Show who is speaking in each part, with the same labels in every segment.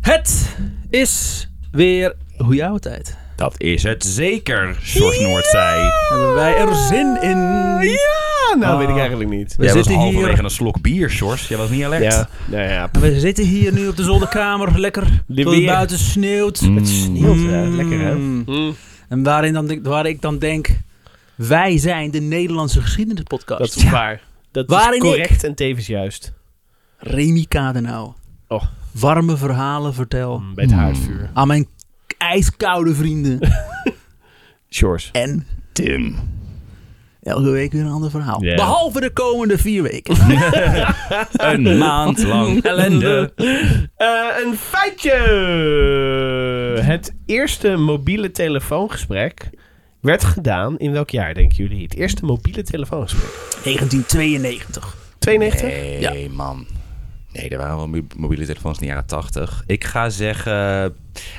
Speaker 1: Het is weer goeie oude tijd.
Speaker 2: Dat is het zeker, zoals Noord zei.
Speaker 1: Hebben wij er zin in?
Speaker 3: Ja, nou
Speaker 1: Ah.
Speaker 3: weet ik eigenlijk niet.
Speaker 1: We
Speaker 2: Jij was
Speaker 1: zitten
Speaker 2: halverwege
Speaker 1: hier.
Speaker 2: een slok bier, Sjors. Jij was niet alert.
Speaker 3: Ja, nou ja.
Speaker 1: We zitten hier nu op de zolderkamer, lekker.
Speaker 3: Die
Speaker 1: Tot het
Speaker 3: weer.
Speaker 1: buiten sneeuwt.
Speaker 2: Mm.
Speaker 3: hè? Lekker, hè?
Speaker 1: Mm.
Speaker 3: Hm,
Speaker 1: En waarin dan, denk- waar ik dan denk, wij zijn de Nederlandse geschiedenispodcast.
Speaker 3: dat is
Speaker 1: Ja.
Speaker 3: waar. Dat
Speaker 1: Waarin
Speaker 3: is correct en tevens juist.
Speaker 1: Remy Kadenau.
Speaker 3: Oh. Mm.
Speaker 1: Warme verhalen vertel
Speaker 3: Bij het
Speaker 2: Hmm.
Speaker 3: haardvuur.
Speaker 1: aan mijn k- ijskoude vrienden.
Speaker 3: Shores.
Speaker 1: en
Speaker 2: Tim.
Speaker 1: elke week weer een ander verhaal.
Speaker 3: Ja.
Speaker 1: Behalve de komende vier weken.
Speaker 2: Een maand lang ellende.
Speaker 3: Eh, een feitje! Het eerste mobiele telefoongesprek werd gedaan in welk jaar, denken jullie? Het eerste mobiele telefoongesprek.
Speaker 1: 1992.
Speaker 3: 92?
Speaker 2: Nee, man. Nee, er waren wel mo- mobiele telefoons in de jaren 80. Ik ga zeggen...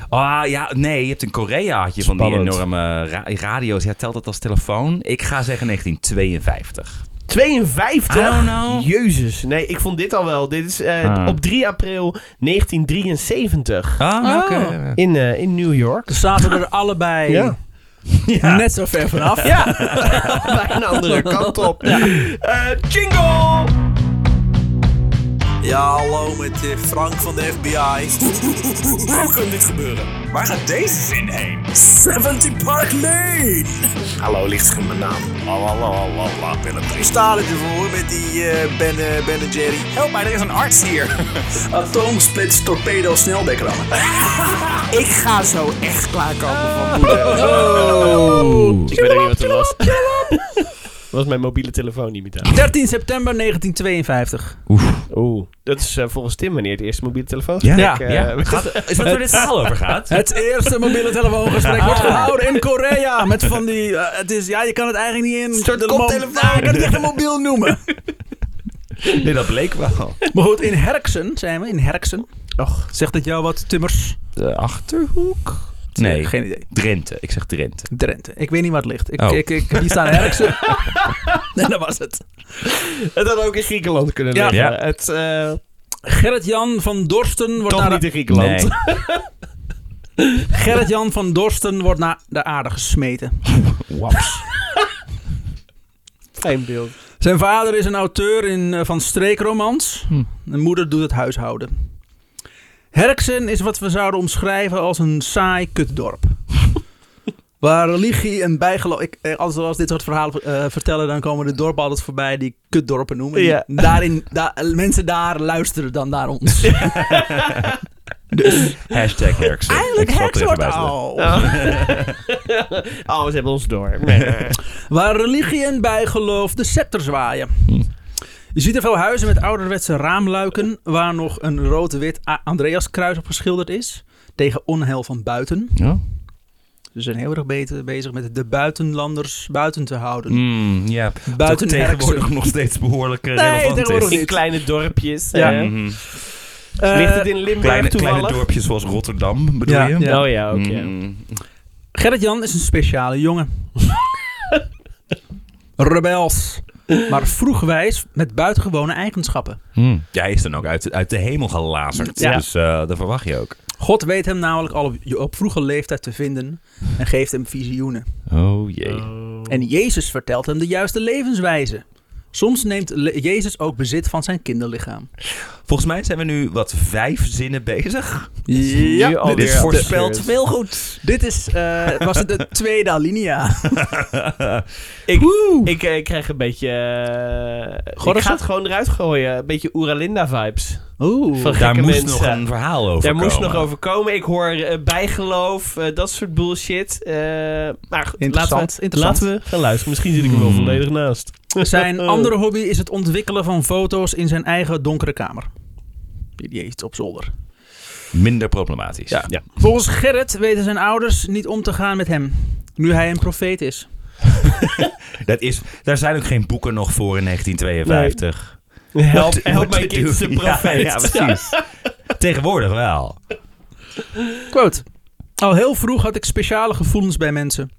Speaker 2: Ah, ja, nee. Je hebt in Korea had je van die
Speaker 3: Spannend.
Speaker 2: enorme ra- radio's. Ja, telt dat als telefoon? Ik ga zeggen 1952.
Speaker 3: 52?
Speaker 2: I don't know.
Speaker 3: Jezus. Nee, ik vond dit al wel. Dit is eh,
Speaker 2: Ah.
Speaker 3: op 3 april 1973
Speaker 2: Ah,
Speaker 1: oké.
Speaker 3: in, eh, in New York.
Speaker 1: Dan zaten we er allebei
Speaker 3: Ja.
Speaker 1: net zo ver vanaf.
Speaker 3: Ja, bij een andere kant op. Eh, jingle!
Speaker 4: Ja, hallo met eh, Frank van de FBI. Hoe kan dit gebeuren? Waar gaat deze zin heen? 70 Park Lane! Hallo, lichtscherm mijn naam. Lalalala, Willem Dries. Sta er voor met die eh, ben, eh, ben en Jerry. Help mij, er is een arts hier. Atoomsplits, torpedo, snelbekrammen. Ik ga zo echt klaarkomen van moeder.
Speaker 2: Oh.
Speaker 3: Ik weet ook niet wat het was. was mijn mobiele telefoon niet meer aan.
Speaker 1: 13 september 1952.
Speaker 3: Oeh, dat is eh, volgens Tim wanneer het eerste mobiele telefoon
Speaker 2: Ja,
Speaker 3: eh,
Speaker 2: ja.
Speaker 3: werd-
Speaker 2: Gaat, is dat waar dit verhaal over gaat? Ah.
Speaker 1: Het eerste mobiele telefoongesprek wordt gehouden in Korea. Met van die. eh, het is, ja, je kan het eigenlijk niet in. Een soort
Speaker 4: koptelefoon.
Speaker 1: Ja, ik kan het niet echt een mobiel noemen.
Speaker 2: Nee, dat bleek wel.
Speaker 1: Maar goed, in Herksen zijn we. In Herksen.
Speaker 3: Och,
Speaker 1: Zegt het jou wat, Timmers?
Speaker 2: De Achterhoek? Nee,
Speaker 1: Geen idee.
Speaker 2: Drenthe. Ik zeg Drenthe.
Speaker 1: Drenthe. Ik weet niet waar het ligt. Ik,
Speaker 2: Oh.
Speaker 1: ik, ik, hier staan Herksen. nee, dat was het.
Speaker 3: het had ook in Griekenland kunnen
Speaker 1: Ja.
Speaker 3: liggen.
Speaker 2: Ja.
Speaker 3: Het, eh,
Speaker 1: Gerrit-Jan van Dorsten wordt
Speaker 3: toch
Speaker 1: naar
Speaker 3: niet
Speaker 1: de,
Speaker 3: in Griekenland.
Speaker 2: Nee.
Speaker 1: Gerrit-Jan van Dorsten wordt naar de aarde gesmeten.
Speaker 2: Waps.
Speaker 3: Geen beeld.
Speaker 1: Zijn vader is een auteur in, eh, van streekromans.
Speaker 2: Hm.
Speaker 1: De moeder doet het huishouden. Herksen is wat we zouden omschrijven als een saai kutdorp. Waar religie en bijgeloof... Ik, eh, als we als dit soort verhalen eh, vertellen, dan komen de dorpen altijd voorbij die kutdorpen noemen.
Speaker 3: Ja.
Speaker 1: Die- Daarin, da- mensen daar luisteren dan naar ons.
Speaker 2: Hashtag Herksen.
Speaker 1: Eigenlijk
Speaker 2: Ik zal het
Speaker 1: Herksen Dus
Speaker 2: er even
Speaker 1: wordt
Speaker 2: bij zetten.
Speaker 1: al.
Speaker 3: Oh, ze hebben ons door.
Speaker 1: Waar religie en bijgeloof de scepter zwaaien. Je ziet er veel huizen met ouderwetse raamluiken waar nog een rood-wit A- Andreaskruis op geschilderd is. Tegen onheil van buiten.
Speaker 2: Ja?
Speaker 1: Ze zijn heel erg beter bezig met de buitenlanders buiten te houden.
Speaker 2: Mm, ja.
Speaker 1: Buiten
Speaker 2: Toch tegenwoordig
Speaker 1: Herksen.
Speaker 2: nog steeds behoorlijk eh,
Speaker 1: Nee,
Speaker 2: relevant
Speaker 1: tegenwoordig
Speaker 2: is.
Speaker 1: niet.
Speaker 3: in kleine dorpjes.
Speaker 1: Ja. Mm.
Speaker 3: eh.
Speaker 2: Mhm.
Speaker 1: Eh,
Speaker 3: Ligt het in Limburg
Speaker 2: Kleine,
Speaker 3: toevallig?
Speaker 2: kleine dorpjes zoals Rotterdam, bedoel
Speaker 1: Ja,
Speaker 2: je?
Speaker 1: ja. dorp-
Speaker 3: Oh ja, oké.
Speaker 2: Mm.
Speaker 1: Gerrit-Jan is een speciale jongen. Rebels. Maar vroegwijs met buitengewone eigenschappen.
Speaker 2: Mm. Ja, hij is dan ook uit, uit de hemel gelazerd.
Speaker 3: Ja.
Speaker 2: Dus eh dat verwacht je ook.
Speaker 1: God weet hem namelijk al op, op vroege leeftijd te vinden en geeft hem visioenen.
Speaker 2: Oh jee.
Speaker 1: En Jezus vertelt hem de juiste levenswijze. Soms neemt le- Jezus ook bezit van zijn kinderlichaam.
Speaker 2: Volgens mij zijn we nu wat vijf zinnen bezig.
Speaker 3: Nu
Speaker 1: Ja, dit
Speaker 3: alweer
Speaker 1: is,
Speaker 3: absurd.
Speaker 2: voorspeld veel goed.
Speaker 1: dit is eh, was het de tweede alinea.
Speaker 3: Ik, ik eh, krijg een beetje... eh, ik
Speaker 1: Gordelsen?
Speaker 3: ga het gewoon eruit gooien. Een beetje Oeralinda-vibes.
Speaker 1: Oeh.
Speaker 3: Van
Speaker 2: Daar
Speaker 3: gekke
Speaker 2: moest
Speaker 3: mensen.
Speaker 2: nog een verhaal over
Speaker 3: Daar moest
Speaker 2: komen.
Speaker 3: nog over komen. Ik hoor eh, bijgeloof, eh, dat soort bullshit. Eh, maar goed, laten we,
Speaker 1: Interessant, interessant.
Speaker 3: laten we gaan luisteren. Misschien zit ik er wel
Speaker 2: Hmm.
Speaker 3: volledig naast. Oh.
Speaker 1: Zijn andere hobby is het ontwikkelen van foto's in zijn eigen donkere kamer. Die heeft op zolder.
Speaker 2: Minder problematisch.
Speaker 1: Ja. Volgens Gerrit weten zijn ouders niet om te gaan met hem. Nu hij een profeet is.
Speaker 2: Dat is, daar zijn ook geen boeken nog voor in 1952.
Speaker 3: Help,
Speaker 2: What-
Speaker 3: help
Speaker 2: what
Speaker 3: mijn
Speaker 2: to
Speaker 3: kind
Speaker 2: do.
Speaker 3: zijn profijt.
Speaker 2: Ja, ja, precies. Tegenwoordig wel.
Speaker 1: Quote. Al heel vroeg had ik speciale gevoelens bij mensen.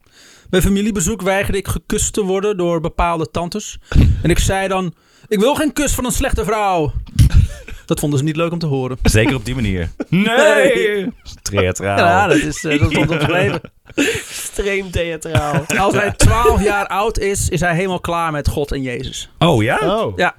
Speaker 1: Bij familiebezoek weigerde ik gekust te worden door bepaalde tantes. En ik zei dan, ik wil geen kus van een slechte vrouw. Dat vonden ze niet leuk om te horen.
Speaker 2: Zeker op die manier. Nee! Theatraal.
Speaker 1: Ja, dat is eh, dat stond op zijn leven.
Speaker 3: Extreem theatraal.
Speaker 1: Als hij 12 jaar oud is, is hij helemaal klaar met God en Jezus.
Speaker 2: Oh ja?
Speaker 3: Oh.
Speaker 1: Ja,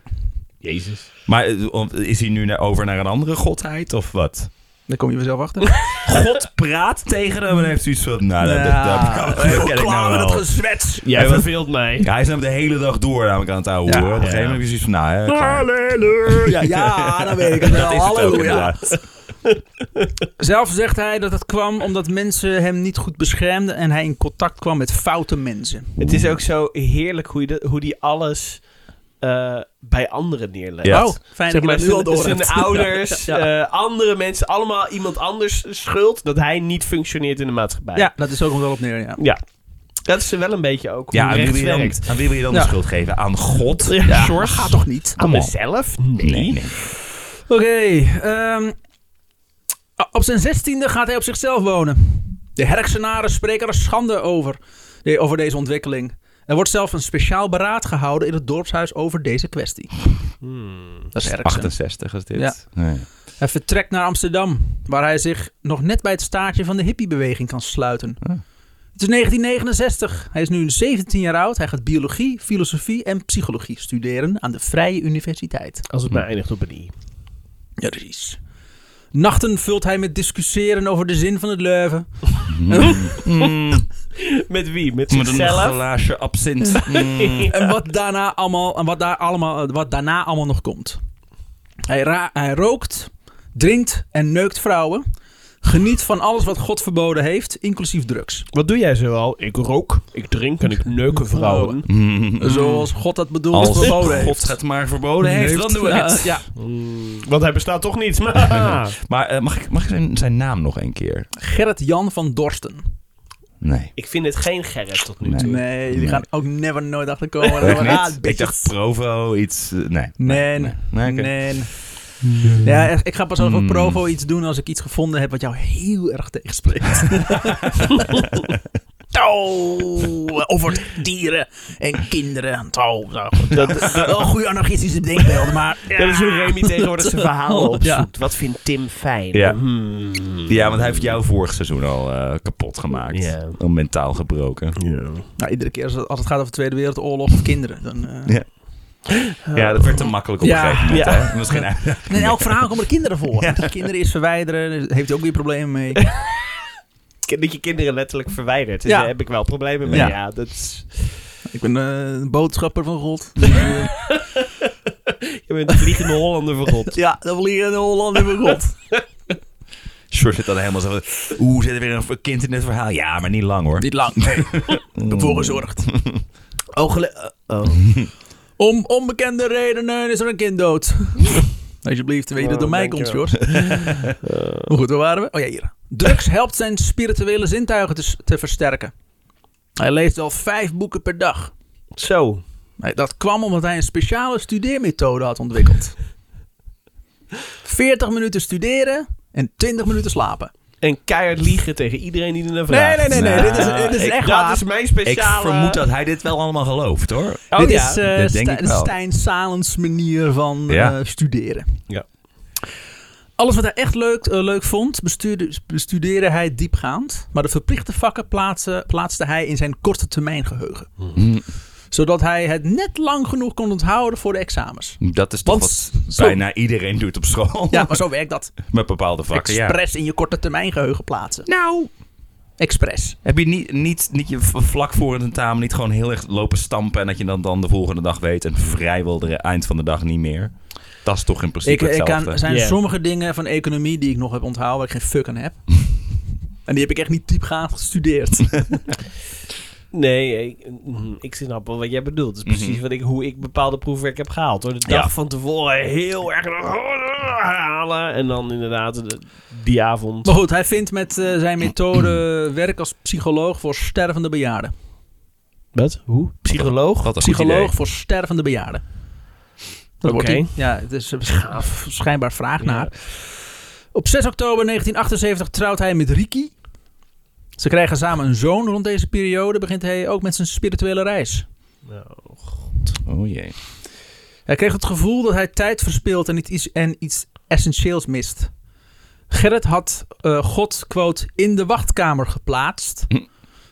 Speaker 3: Jezus.
Speaker 2: Maar eh, om- is hij nu naar- over naar een andere godheid of wat?
Speaker 1: daar kom je vanzelf achter.
Speaker 2: God praat tegen hem en heeft zoiets van... Nou, dat, dat,
Speaker 1: Ja,
Speaker 2: dat- dat ken ik
Speaker 1: klaar
Speaker 2: nou
Speaker 1: met het
Speaker 2: wel.
Speaker 1: gezwets.
Speaker 3: Jij
Speaker 2: Even-
Speaker 3: verveelt mij.
Speaker 2: Ja, hij is namelijk de hele dag door namelijk aan het ouwe hoor. Op een gegeven moment heb je zoiets van... Nou, hè, klaar.
Speaker 1: Ja, ja, dan weet ik het wel.
Speaker 2: Dat is het ook
Speaker 1: Halleluja.
Speaker 2: inderdaad.
Speaker 1: Zelf zegt hij dat het kwam omdat mensen hem niet goed beschermden en hij in contact kwam met foute mensen.
Speaker 3: Het is ook zo heerlijk hoe, je dat- hoe die alles eh, bij anderen neerlegt.
Speaker 2: Ja.
Speaker 1: Oh, fijn
Speaker 3: Zeg maar,
Speaker 1: dat je dat nu al
Speaker 3: zijn,
Speaker 1: door
Speaker 3: zijn
Speaker 1: hebt.
Speaker 3: ouders,
Speaker 1: Ja.
Speaker 3: eh, andere mensen, allemaal iemand anders schuld dat hij niet functioneert in de maatschappij.
Speaker 1: Ja, dat is ook wel op neer, ja.
Speaker 3: ja. Dat is wel een beetje ook hoe
Speaker 2: Ja, aan wie
Speaker 3: rechts
Speaker 2: wil je dan,
Speaker 3: werkt.
Speaker 2: aan wie wil je dan
Speaker 1: Ja.
Speaker 2: de schuld geven? Aan God?
Speaker 3: Ja,
Speaker 1: Maar
Speaker 3: soort.
Speaker 1: gaat toch niet?
Speaker 3: Aan
Speaker 2: Kom op.
Speaker 3: mezelf? Nee.
Speaker 2: Nee, nee.
Speaker 1: Oké, ehm, ah, op zijn zestiende gaat hij op zichzelf wonen. De herksenaren spreken er schande over, de- over deze ontwikkeling. Er wordt zelfs een speciaal beraad gehouden in het dorpshuis over deze kwestie. Dat is Herksen.
Speaker 2: 68 is dit.
Speaker 1: Ja.
Speaker 2: Nee.
Speaker 1: Hij vertrekt naar Amsterdam, waar hij zich nog net bij het staartje van de hippiebeweging kan sluiten.
Speaker 2: Ah.
Speaker 1: Het is 1969. Hij is nu 17 jaar oud. Hij gaat biologie, filosofie en psychologie studeren aan de Vrije Universiteit.
Speaker 3: Als het maar eindigt op een i.
Speaker 1: Ja, precies. Nachten vult hij met discussiëren over de zin van het leven.
Speaker 3: Met wie? Met
Speaker 2: Met een
Speaker 3: zichzelf?
Speaker 2: glaasje absint. Mm.
Speaker 1: En wat daarna allemaal, en wat daar allemaal, wat daarna allemaal nog komt. Hij, ra- hij rookt, drinkt en neukt vrouwen. Geniet van alles wat God verboden heeft, inclusief drugs.
Speaker 3: Wat doe jij zoal? Ik rook, ik drink en ik neuken vrouwen.
Speaker 2: Mm.
Speaker 1: Zoals Mm. God dat bedoelt
Speaker 2: Als
Speaker 1: verboden heeft.
Speaker 2: God het maar verboden heeft, dan doen we
Speaker 1: Ja,
Speaker 2: het.
Speaker 1: Ja,
Speaker 3: Mm. Want hij bestaat toch niet.
Speaker 2: Maar eh, mag ik, mag ik zijn, zijn naam nog een keer?
Speaker 1: Gerrit Jan van Dorsten.
Speaker 2: Nee.
Speaker 3: ik vind het geen Gerrit tot nu
Speaker 2: Nee.
Speaker 3: toe.
Speaker 1: Nee, die
Speaker 2: Nee.
Speaker 1: gaan ook never nooit achterkomen.
Speaker 2: Ook
Speaker 1: komen.
Speaker 2: niet? ik dacht Provo, iets... eh, nee.
Speaker 1: Nee,
Speaker 2: Nee.
Speaker 1: nee.
Speaker 2: Nee, oké.
Speaker 1: Ja, echt, ik ga pas over
Speaker 2: Hmm.
Speaker 1: Provo iets doen als ik iets gevonden heb wat jou heel erg tegenspreekt. oh, over dieren en kinderen. Oh, nou, goed.
Speaker 3: Dat,
Speaker 1: Wel goede anarchistische denkbeelden, maar...
Speaker 3: dat is hoe Remy tegenwoordig zijn verhaal opzoekt.
Speaker 1: Ja.
Speaker 3: Wat vindt Tim fijn?
Speaker 2: Ja.
Speaker 3: Hmm.
Speaker 2: Ja, want hij heeft jou vorig seizoen al eh, kapot gemaakt.
Speaker 3: Ja.
Speaker 2: Al Mentaal gebroken.
Speaker 1: Nou, iedere keer als het, als het gaat over de Tweede Wereldoorlog of kinderen, dan... eh,
Speaker 2: Ja. Ja, dat werd te makkelijk op een
Speaker 1: Ja.
Speaker 2: gegeven moment.
Speaker 3: Ja.
Speaker 2: Hè? Misschien
Speaker 1: En in elk verhaal komen er kinderen voor. Die kinderen is verwijderen, daar heeft hij ook weer problemen mee.
Speaker 3: Ki- Dat je kinderen letterlijk verwijdert. Dus
Speaker 1: Ja.
Speaker 3: Daar heb ik wel problemen mee. Ja,
Speaker 1: Ja.
Speaker 3: dat is...
Speaker 1: Ik ben eh, een boodschapper van God.
Speaker 3: Je bent een vliegende Hollander verrot.
Speaker 1: ja, dat wil hier in Holland hebben God.
Speaker 2: George zit dan helemaal zo van... Oeh, zit er weer een kind in het verhaal? Ja, maar niet lang hoor.
Speaker 1: Niet lang. Nee. Ervoor gezorgd.
Speaker 3: Oh, gele-
Speaker 1: eh,
Speaker 3: oh.
Speaker 1: Om onbekende redenen is er een kind dood. Alsjeblieft, weet je dat door
Speaker 3: Oh,
Speaker 1: mij komt,
Speaker 3: dankjewel.
Speaker 1: George. Hoe goed, waar waren we? Oh ja, hier. Drugs helpt zijn spirituele zintuigen te, s- te versterken. Hij leest al vijf boeken per dag.
Speaker 3: Zo.
Speaker 1: Nee, Dat kwam omdat hij een speciale studeermethode had ontwikkeld. 40 minuten studeren en 20 minuten slapen.
Speaker 3: En keihard liegen tegen iedereen die er naar vraagt.
Speaker 1: Nee, nee, nee, nee.
Speaker 2: Nou,
Speaker 1: dit is, dit is
Speaker 3: Ik-
Speaker 1: echt
Speaker 3: dat
Speaker 1: waar.
Speaker 3: is mijn
Speaker 2: Ik
Speaker 3: speciale...
Speaker 2: vermoed dat hij dit wel allemaal gelooft hoor.
Speaker 3: Oh,
Speaker 1: dit
Speaker 3: ja.
Speaker 1: is eh,
Speaker 2: dat denk
Speaker 1: Stijn-
Speaker 2: ik wel.
Speaker 1: Stijn Salens manier van
Speaker 2: Ja.
Speaker 1: eh, studeren.
Speaker 3: Ja.
Speaker 1: Alles wat hij echt leuk, eh, leuk vond, bestuurde, bestudeerde hij diepgaand. Maar de verplichte vakken plaatste, plaatste hij in zijn korte termijn geheugen.
Speaker 2: Hmm.
Speaker 1: Zodat hij het net lang genoeg kon onthouden voor de examens.
Speaker 2: Dat is toch
Speaker 1: Want
Speaker 2: wat
Speaker 1: zo-
Speaker 2: bijna iedereen doet op school.
Speaker 1: Ja, maar zo werkt dat.
Speaker 2: Met bepaalde vakken, ja.
Speaker 1: Express in je korte termijn geheugen plaatsen.
Speaker 2: Nou,
Speaker 1: Express.
Speaker 2: heb je niet, niet, niet je v- vlak voor het tentamen niet gewoon heel erg lopen stampen en dat je dan, dan de volgende dag weet en vrijwel de eind van de dag niet meer? Dat is toch in
Speaker 1: Ik,
Speaker 2: principe
Speaker 1: ik kan,
Speaker 2: hetzelfde.
Speaker 1: er zijn
Speaker 3: Ja.
Speaker 1: sommige dingen van economie die ik nog heb onthouden waar ik geen fuck aan heb. en die heb ik echt niet diepgaand gestudeerd.
Speaker 3: Nee, ik, mm, ik snap wel wat jij bedoelt. Dat is precies wat ik, hoe ik bepaalde proefwerk heb gehaald. Door de dag
Speaker 2: Ja.
Speaker 3: van tevoren heel erg halen. En dan inderdaad de- die avond.
Speaker 1: Maar goed, hij vindt met eh, zijn methode werk als psycholoog voor stervende bejaarden.
Speaker 3: Wat? Hoe? Psycholoog?
Speaker 2: Wat een goed
Speaker 1: Psycholoog
Speaker 2: idee.
Speaker 1: voor stervende bejaarden. Dat
Speaker 3: Oké.
Speaker 1: wordt hij. Ja, het is een scha- schijnbaar vraag
Speaker 3: Ja.
Speaker 1: naar. Op 6 oktober 1978 trouwt hij met Riki. Ze krijgen samen een zoon. Rond deze periode begint hij ook met zijn spirituele reis.
Speaker 3: Nou,
Speaker 2: Oh jee.
Speaker 1: Hij kreeg het gevoel dat hij tijd verspeelt en, niet iets, en iets essentieels mist. Gerrit had eh, God, quote, in de wachtkamer geplaatst.
Speaker 2: Hm.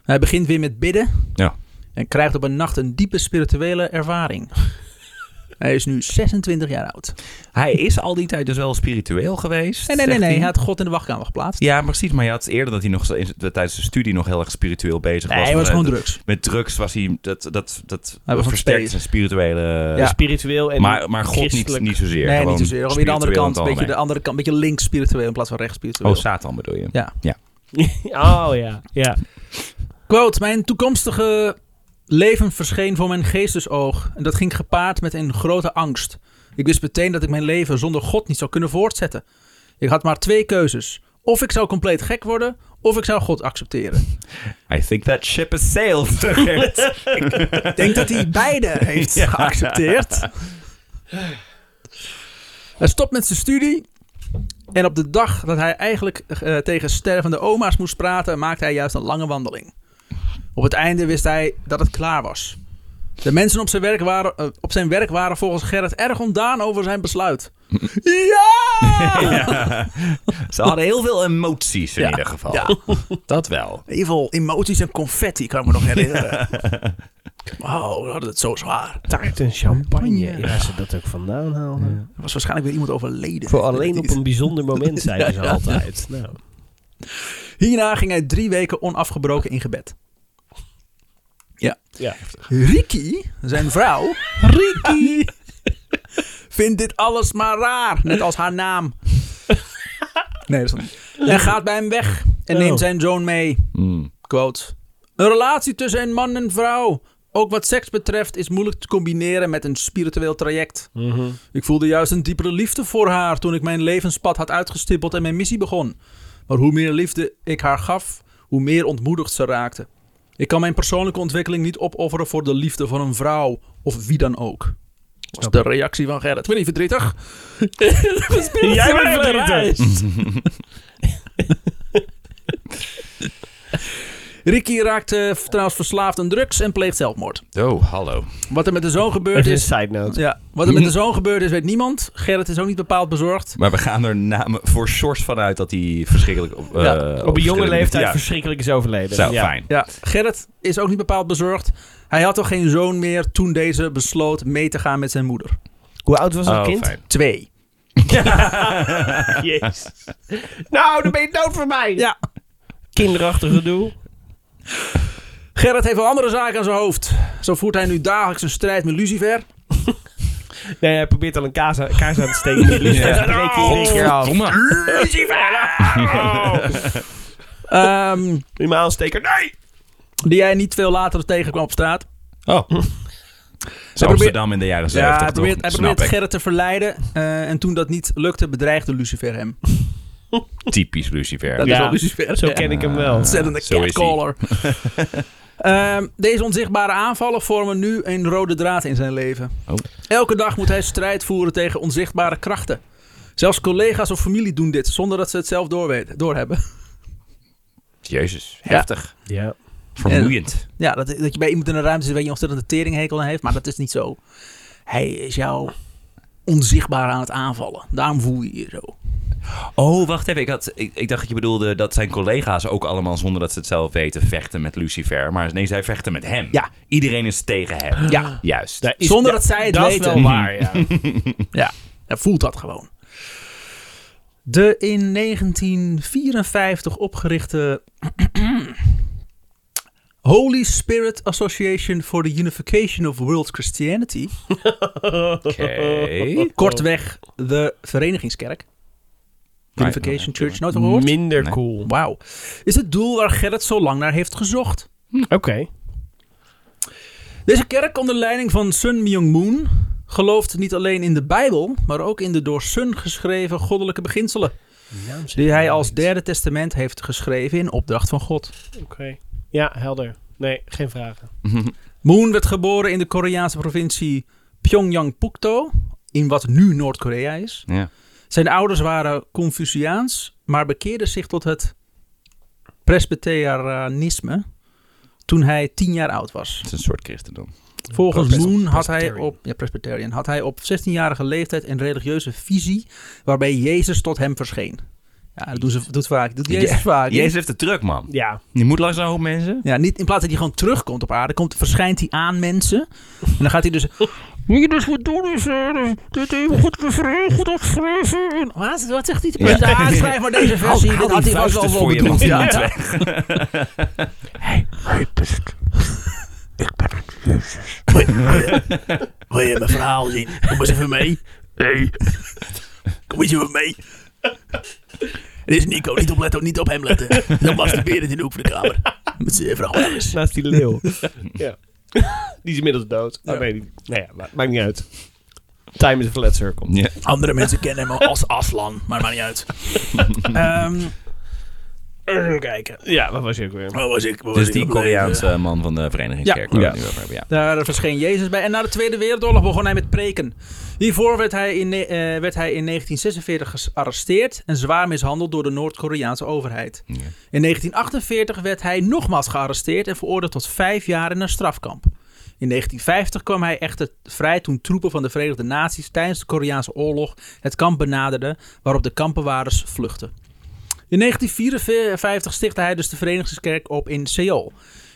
Speaker 1: Hij begint weer met bidden.
Speaker 2: Ja.
Speaker 1: En krijgt op een nacht een diepe spirituele ervaring. Hij is nu 26 jaar oud.
Speaker 2: Hij is al die tijd dus wel spiritueel geweest.
Speaker 1: Nee, nee, nee,
Speaker 2: zegt
Speaker 1: nee.
Speaker 2: hij.
Speaker 1: Hij had God in de wachtkamer geplaatst.
Speaker 2: Ja, precies. Maar je had eerder dat hij nog zo in- tijdens de studie nog heel erg spiritueel bezig
Speaker 1: Nee,
Speaker 2: was.
Speaker 1: hij was
Speaker 2: Met-
Speaker 1: gewoon drugs.
Speaker 2: Met drugs was hij dat, dat, dat
Speaker 1: Hij was aan het
Speaker 2: versterkt
Speaker 1: spelen.
Speaker 2: zijn spirituele...
Speaker 1: Ja.
Speaker 3: Spiritueel en
Speaker 2: Maar, maar God niet,
Speaker 3: christelijk.
Speaker 2: niet zozeer.
Speaker 1: nee,
Speaker 2: gewoon
Speaker 1: niet zozeer. Gewoon weer de andere
Speaker 2: spiritueel
Speaker 1: kant.
Speaker 2: in het
Speaker 1: Beetje de
Speaker 2: algemeen.
Speaker 1: andere kant. Beetje links spiritueel in plaats van rechts spiritueel.
Speaker 2: Oh, Satan bedoel je.
Speaker 1: Ja.
Speaker 3: oh ja, ja.
Speaker 1: Quote, mijn toekomstige leven verscheen voor mijn geestesoog. En dat ging gepaard met een grote angst. Ik wist meteen dat ik mijn leven zonder God niet zou kunnen voortzetten. Ik had maar twee keuzes. Of ik zou compleet gek worden, of ik zou God accepteren.
Speaker 2: I think that ship has sailed. Gerrit.
Speaker 1: Ik denk dat hij beide heeft geaccepteerd. Hij stopt met zijn studie. En op de dag dat hij eigenlijk eh, tegen stervende oma's moest praten, maakte hij juist een lange wandeling. Op het einde wist hij dat het klaar was. De mensen op zijn werk waren, eh, op zijn werk waren volgens Gerrit erg ontdaan over zijn besluit. Ja!
Speaker 2: Ja. Ze hadden heel veel emoties in
Speaker 1: Ja.
Speaker 2: ieder geval.
Speaker 1: Ja.
Speaker 2: Dat wel.
Speaker 1: Evil emoties en confetti, kan ik me nog herinneren. Wauw, we hadden het zo zwaar.
Speaker 3: Taart en champagne. Ja, ze dat ook vandaan halen.
Speaker 1: Er was waarschijnlijk weer iemand overleden.
Speaker 3: Voor
Speaker 1: Ik weet
Speaker 3: alleen
Speaker 1: het
Speaker 3: op
Speaker 1: niet.
Speaker 3: een bijzonder moment zijn
Speaker 1: Ja,
Speaker 3: ze
Speaker 1: ja.
Speaker 3: altijd. Nou.
Speaker 1: Hierna ging hij drie weken onafgebroken in gebed.
Speaker 3: Ja.
Speaker 1: Riki, zijn vrouw, Riki, vindt dit alles maar raar, net als haar naam. Nee, dat is dat niet. En gaat bij hem weg en
Speaker 3: Oh.
Speaker 1: neemt zijn zoon mee.
Speaker 2: Mm.
Speaker 1: Quote. Een relatie tussen een man en vrouw, ook wat seks betreft, is moeilijk te combineren met een spiritueel traject. Ik voelde juist een diepere liefde voor haar toen ik mijn levenspad had uitgestippeld en mijn missie begon. Maar hoe meer liefde ik haar gaf, hoe meer ontmoedigd ze raakte. Ik kan mijn persoonlijke ontwikkeling niet opofferen voor de liefde van een vrouw of wie dan ook. Dat is de reactie van Gerrit. Ben je niet verdrietig?
Speaker 3: Jij bent
Speaker 1: Spirituele
Speaker 3: verdrietig.
Speaker 1: reis. Ricky raakte trouwens verslaafd aan drugs en pleegt zelfmoord.
Speaker 2: Oh, hallo.
Speaker 1: Wat er met de zoon
Speaker 3: Het
Speaker 1: gebeurd
Speaker 3: is
Speaker 1: is,
Speaker 3: een side note.
Speaker 1: ja, wat er met de zoon gebeurd is, weet niemand. Gerrit is ook niet bepaald bezorgd.
Speaker 2: Maar we gaan er namen voor Sjors vanuit dat hij verschrikkelijk... Op, eh,
Speaker 1: Ja,
Speaker 3: Op een jonge
Speaker 2: verschillende-
Speaker 3: leeftijd
Speaker 2: Ja,
Speaker 3: verschrikkelijk is overleden.
Speaker 2: zo,
Speaker 3: ja.
Speaker 2: fijn.
Speaker 1: Ja, Gerrit is ook niet bepaald bezorgd. Hij had toch geen zoon meer toen deze besloot mee te gaan met zijn moeder.
Speaker 3: Hoe oud was dat
Speaker 2: Oh,
Speaker 3: kind?
Speaker 2: fijn.
Speaker 1: Twee.
Speaker 3: Jezus. Nou, dan ben je dood voor mij.
Speaker 1: Ja.
Speaker 3: Kinderachtig gedoe.
Speaker 1: Gerrit heeft wel andere zaken aan zijn hoofd. Zo voert hij nu dagelijks een strijd met Lucifer.
Speaker 3: Nee, hij probeert al een kaas, aan- kaars aan te steken. Dus
Speaker 2: Ja.
Speaker 3: dan breekt hij in één keer af.
Speaker 2: Godverdomme.
Speaker 1: Ehm,
Speaker 3: Doe je me aansteken? Nee!
Speaker 1: die hij niet veel later tegenkwam op straat.
Speaker 2: Oh. Zo Amsterdam in de jaren
Speaker 1: Ja,
Speaker 2: 70,
Speaker 1: hij probeert,
Speaker 2: toch?
Speaker 1: hij
Speaker 2: Snap
Speaker 1: probeert
Speaker 2: ik.
Speaker 1: Gerrit te verleiden. eh, en toen dat niet lukte, bedreigde Lucifer hem.
Speaker 2: Typisch Lucifer.
Speaker 1: Dat
Speaker 3: Ja.
Speaker 1: is wel Lucifer.
Speaker 3: Zo
Speaker 1: Ja.
Speaker 3: ken ik hem wel.
Speaker 1: ontzettende
Speaker 2: Zo is hij.
Speaker 1: catcaller. Ehm, deze onzichtbare aanvallen vormen nu een rode draad in zijn leven.
Speaker 2: Oh.
Speaker 1: Elke dag moet hij strijd voeren tegen onzichtbare krachten. Zelfs collega's of familie doen dit zonder dat ze het zelf doorweten, doorhebben.
Speaker 2: Jezus,
Speaker 1: Ja.
Speaker 2: heftig.
Speaker 3: Ja.
Speaker 2: Vermoeiend.
Speaker 1: Ja, dat, dat je bij iemand in een ruimte zit waar je ontzettend een teringhekel aan heeft, maar dat is niet zo. Hij is jou onzichtbaar aan het aanvallen. Daarom voel je je zo.
Speaker 2: Oh, wacht even. Ik, had, ik, ik dacht dat je bedoelde dat zijn collega's ook allemaal, zonder dat ze het zelf weten, vechten met Lucifer. Maar nee, zij vechten met hem.
Speaker 1: Ja.
Speaker 2: Iedereen is tegen hem.
Speaker 1: Ja.
Speaker 2: Juist.
Speaker 3: Daar is-
Speaker 1: Zonder
Speaker 3: da-
Speaker 1: dat zij het
Speaker 3: dat
Speaker 1: weten.
Speaker 3: is wel waar, ja.
Speaker 1: Ja, hij voelt dat gewoon. De in 1954 opgerichte Holy Spirit Association for the Unification of World Christianity,
Speaker 2: Oké.
Speaker 1: kortweg de Verenigingskerk, Unification Church, nooit van gehoord?
Speaker 3: Minder
Speaker 2: Nee.
Speaker 3: cool.
Speaker 1: Wauw. Is het doel waar Gerrit zo lang naar heeft gezocht.
Speaker 3: Oké.
Speaker 1: Deze kerk onder leiding van Sun Myung-moon gelooft niet alleen in de Bijbel, maar ook in de door Sun geschreven goddelijke beginselen. Die hij als derde testament heeft geschreven in opdracht van God.
Speaker 3: Oké. Ja, helder. Nee, geen vragen.
Speaker 1: Moon werd geboren in de Koreaanse provincie Pyongyang-pukto, in wat nu Noord-Korea is.
Speaker 2: Ja.
Speaker 1: Zijn ouders waren Confuciaans, maar bekeerden zich tot het presbyterianisme toen hij tien jaar oud was.
Speaker 2: Het is een soort christendom.
Speaker 1: Volgens
Speaker 3: Pres-
Speaker 1: Moon had hij
Speaker 3: Presbyterian.
Speaker 1: op ja, Presbyterian had hij op 16-jarige leeftijd een religieuze visie waarbij Jezus tot hem verscheen. Ja, dat doen ze, doet vaak. Doet Jezus
Speaker 2: Je-
Speaker 1: vaak.
Speaker 2: Jezus heeft de truc, man.
Speaker 3: Ja.
Speaker 2: Je moet langs een hoop mensen.
Speaker 1: Ja, niet in plaats dat hij gewoon terugkomt op aarde, komt, verschijnt hij aan mensen. En dan gaat hij dus. Hier dus wat doen is. eh, Dit even goed geschreven, goed opgeschreven. En- Wat, wat zegt hij? Ja. De aanschrijver van deze versie.
Speaker 2: Haal
Speaker 1: Dit
Speaker 2: die
Speaker 1: had hij vast
Speaker 2: vuist
Speaker 1: wel
Speaker 2: eens
Speaker 1: voor
Speaker 2: voor je,
Speaker 1: bedoeld.
Speaker 2: man.
Speaker 1: Ja.
Speaker 2: Ja.
Speaker 1: Wil je mijn verhaal zien? Kom eens even mee. Nee. Kom eens even mee. Dit is Nico. Niet op letten, niet op hem letten. Dan masturberen in de hoek van de kamer. Met zijn vrouw.
Speaker 3: Naast die leeuw. ja. Die is inmiddels dood. Oh, nee, die- nou ja, ma- maakt niet uit. Time is a flat circle.
Speaker 2: Ja.
Speaker 1: Andere mensen kennen hem als Aslan, maar maakt niet uit. Ehm, even kijken.
Speaker 3: Ja, wat was je ook weer?
Speaker 1: Waar was ik? Waar was
Speaker 2: Dus
Speaker 1: ik
Speaker 2: die
Speaker 1: op leven?
Speaker 2: Koreaanse man van de Verenigingskerk. waar we
Speaker 3: Ja.
Speaker 2: het nu over hebben, ja.
Speaker 1: Daar verscheen Jezus bij. En na de Tweede Wereldoorlog begon hij met preken. Hiervoor werd hij in, ne- eh, werd hij in 1946 gearresteerd en zwaar mishandeld door de Noord-Koreaanse overheid.
Speaker 2: Ja.
Speaker 1: In 1948 werd hij nogmaals gearresteerd en veroordeeld tot vijf jaar in een strafkamp. In 1950 kwam hij echter vrij toen troepen van de Verenigde Naties tijdens de Koreaanse oorlog het kamp benaderden waarop de kampenwaarders vluchtten. In 1954 stichtte hij dus de Verenigingskerk op in Seoul.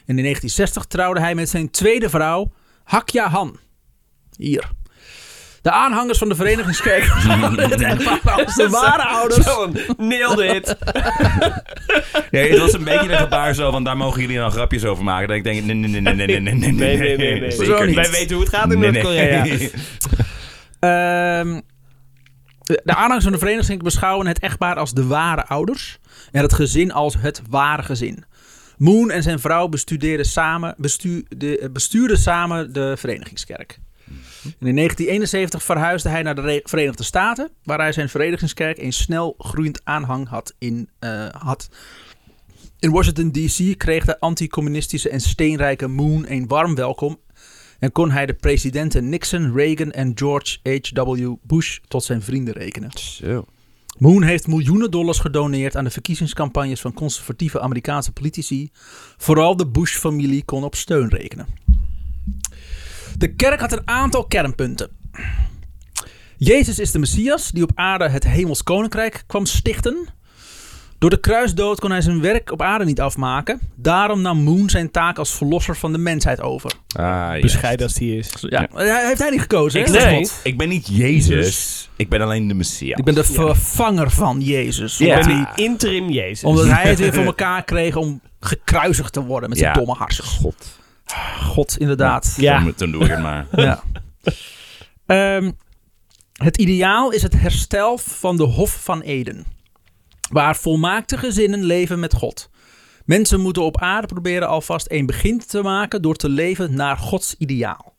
Speaker 1: En in 1960 trouwde hij met zijn tweede vrouw, Hakja Han. Hier. De aanhangers van de Verenigingskerk waren het echtpaar als de ware ouders.
Speaker 3: Nailed it.
Speaker 2: Nee, het was een beetje een gebaar zo, want daar mogen jullie dan grapjes over maken. Dat ik denk, nee, nee, nee, nee, nee, nee, nee,
Speaker 3: Nee, nee, nee, nee.
Speaker 2: Zeker
Speaker 1: Zo niet.
Speaker 3: Wij weten hoe het gaat in
Speaker 2: Nee, nee.
Speaker 3: Noord-Korea.
Speaker 1: Ehm, de de aanhangers van de vereniging beschouwen het echtpaar als de ware ouders en het gezin als het ware gezin. Moon en zijn vrouw bestudeerden samen, bestuurde, eh, bestuurden samen de verenigingskerk. En in 1971 verhuisde hij naar de Re- Verenigde Staten, waar hij zijn verenigingskerk een snel groeiend aanhang had. In, eh, had. in Washington D.C. kreeg de anticommunistische en steenrijke Moon een warm welkom en kon hij de presidenten Nixon, Reagan en George H.W. Bush tot zijn vrienden rekenen.
Speaker 2: Zo.
Speaker 1: Moon heeft miljoenen dollars gedoneerd aan de verkiezingscampagnes van conservatieve Amerikaanse politici. Vooral de Bush-familie kon op steun rekenen. De kerk had een aantal kernpunten. Jezus is de Messias die op aarde het Hemels Koninkrijk kwam stichten. Door de kruisdood kon hij zijn werk op aarde niet afmaken. Daarom nam Moon zijn taak als verlosser van de mensheid over.
Speaker 2: Ah, ja.
Speaker 3: Bescheiden als die is.
Speaker 1: Ja. Hij heeft hij niet gekozen.
Speaker 2: Ik,
Speaker 1: hè?
Speaker 2: zeg
Speaker 3: Nee.
Speaker 2: wat, ik ben niet Jezus, Dus- ik ben alleen de Messias.
Speaker 1: Ik ben de vervanger van Jezus.
Speaker 2: Ja.
Speaker 1: Omdat,
Speaker 3: En
Speaker 1: hij,
Speaker 3: die interim Jezus.
Speaker 1: omdat hij het weer voor elkaar kreeg om gekruisigd te worden met zijn
Speaker 2: Ja.
Speaker 1: domme hars.
Speaker 2: God.
Speaker 1: God, inderdaad.
Speaker 3: Ja.
Speaker 2: Dan, dan doe ik het maar.
Speaker 1: Ja. Ehm, het ideaal is het herstel van de Hof van Eden. Waar volmaakte gezinnen leven met God. Mensen moeten op aarde proberen alvast een begin te maken door te leven naar Gods ideaal.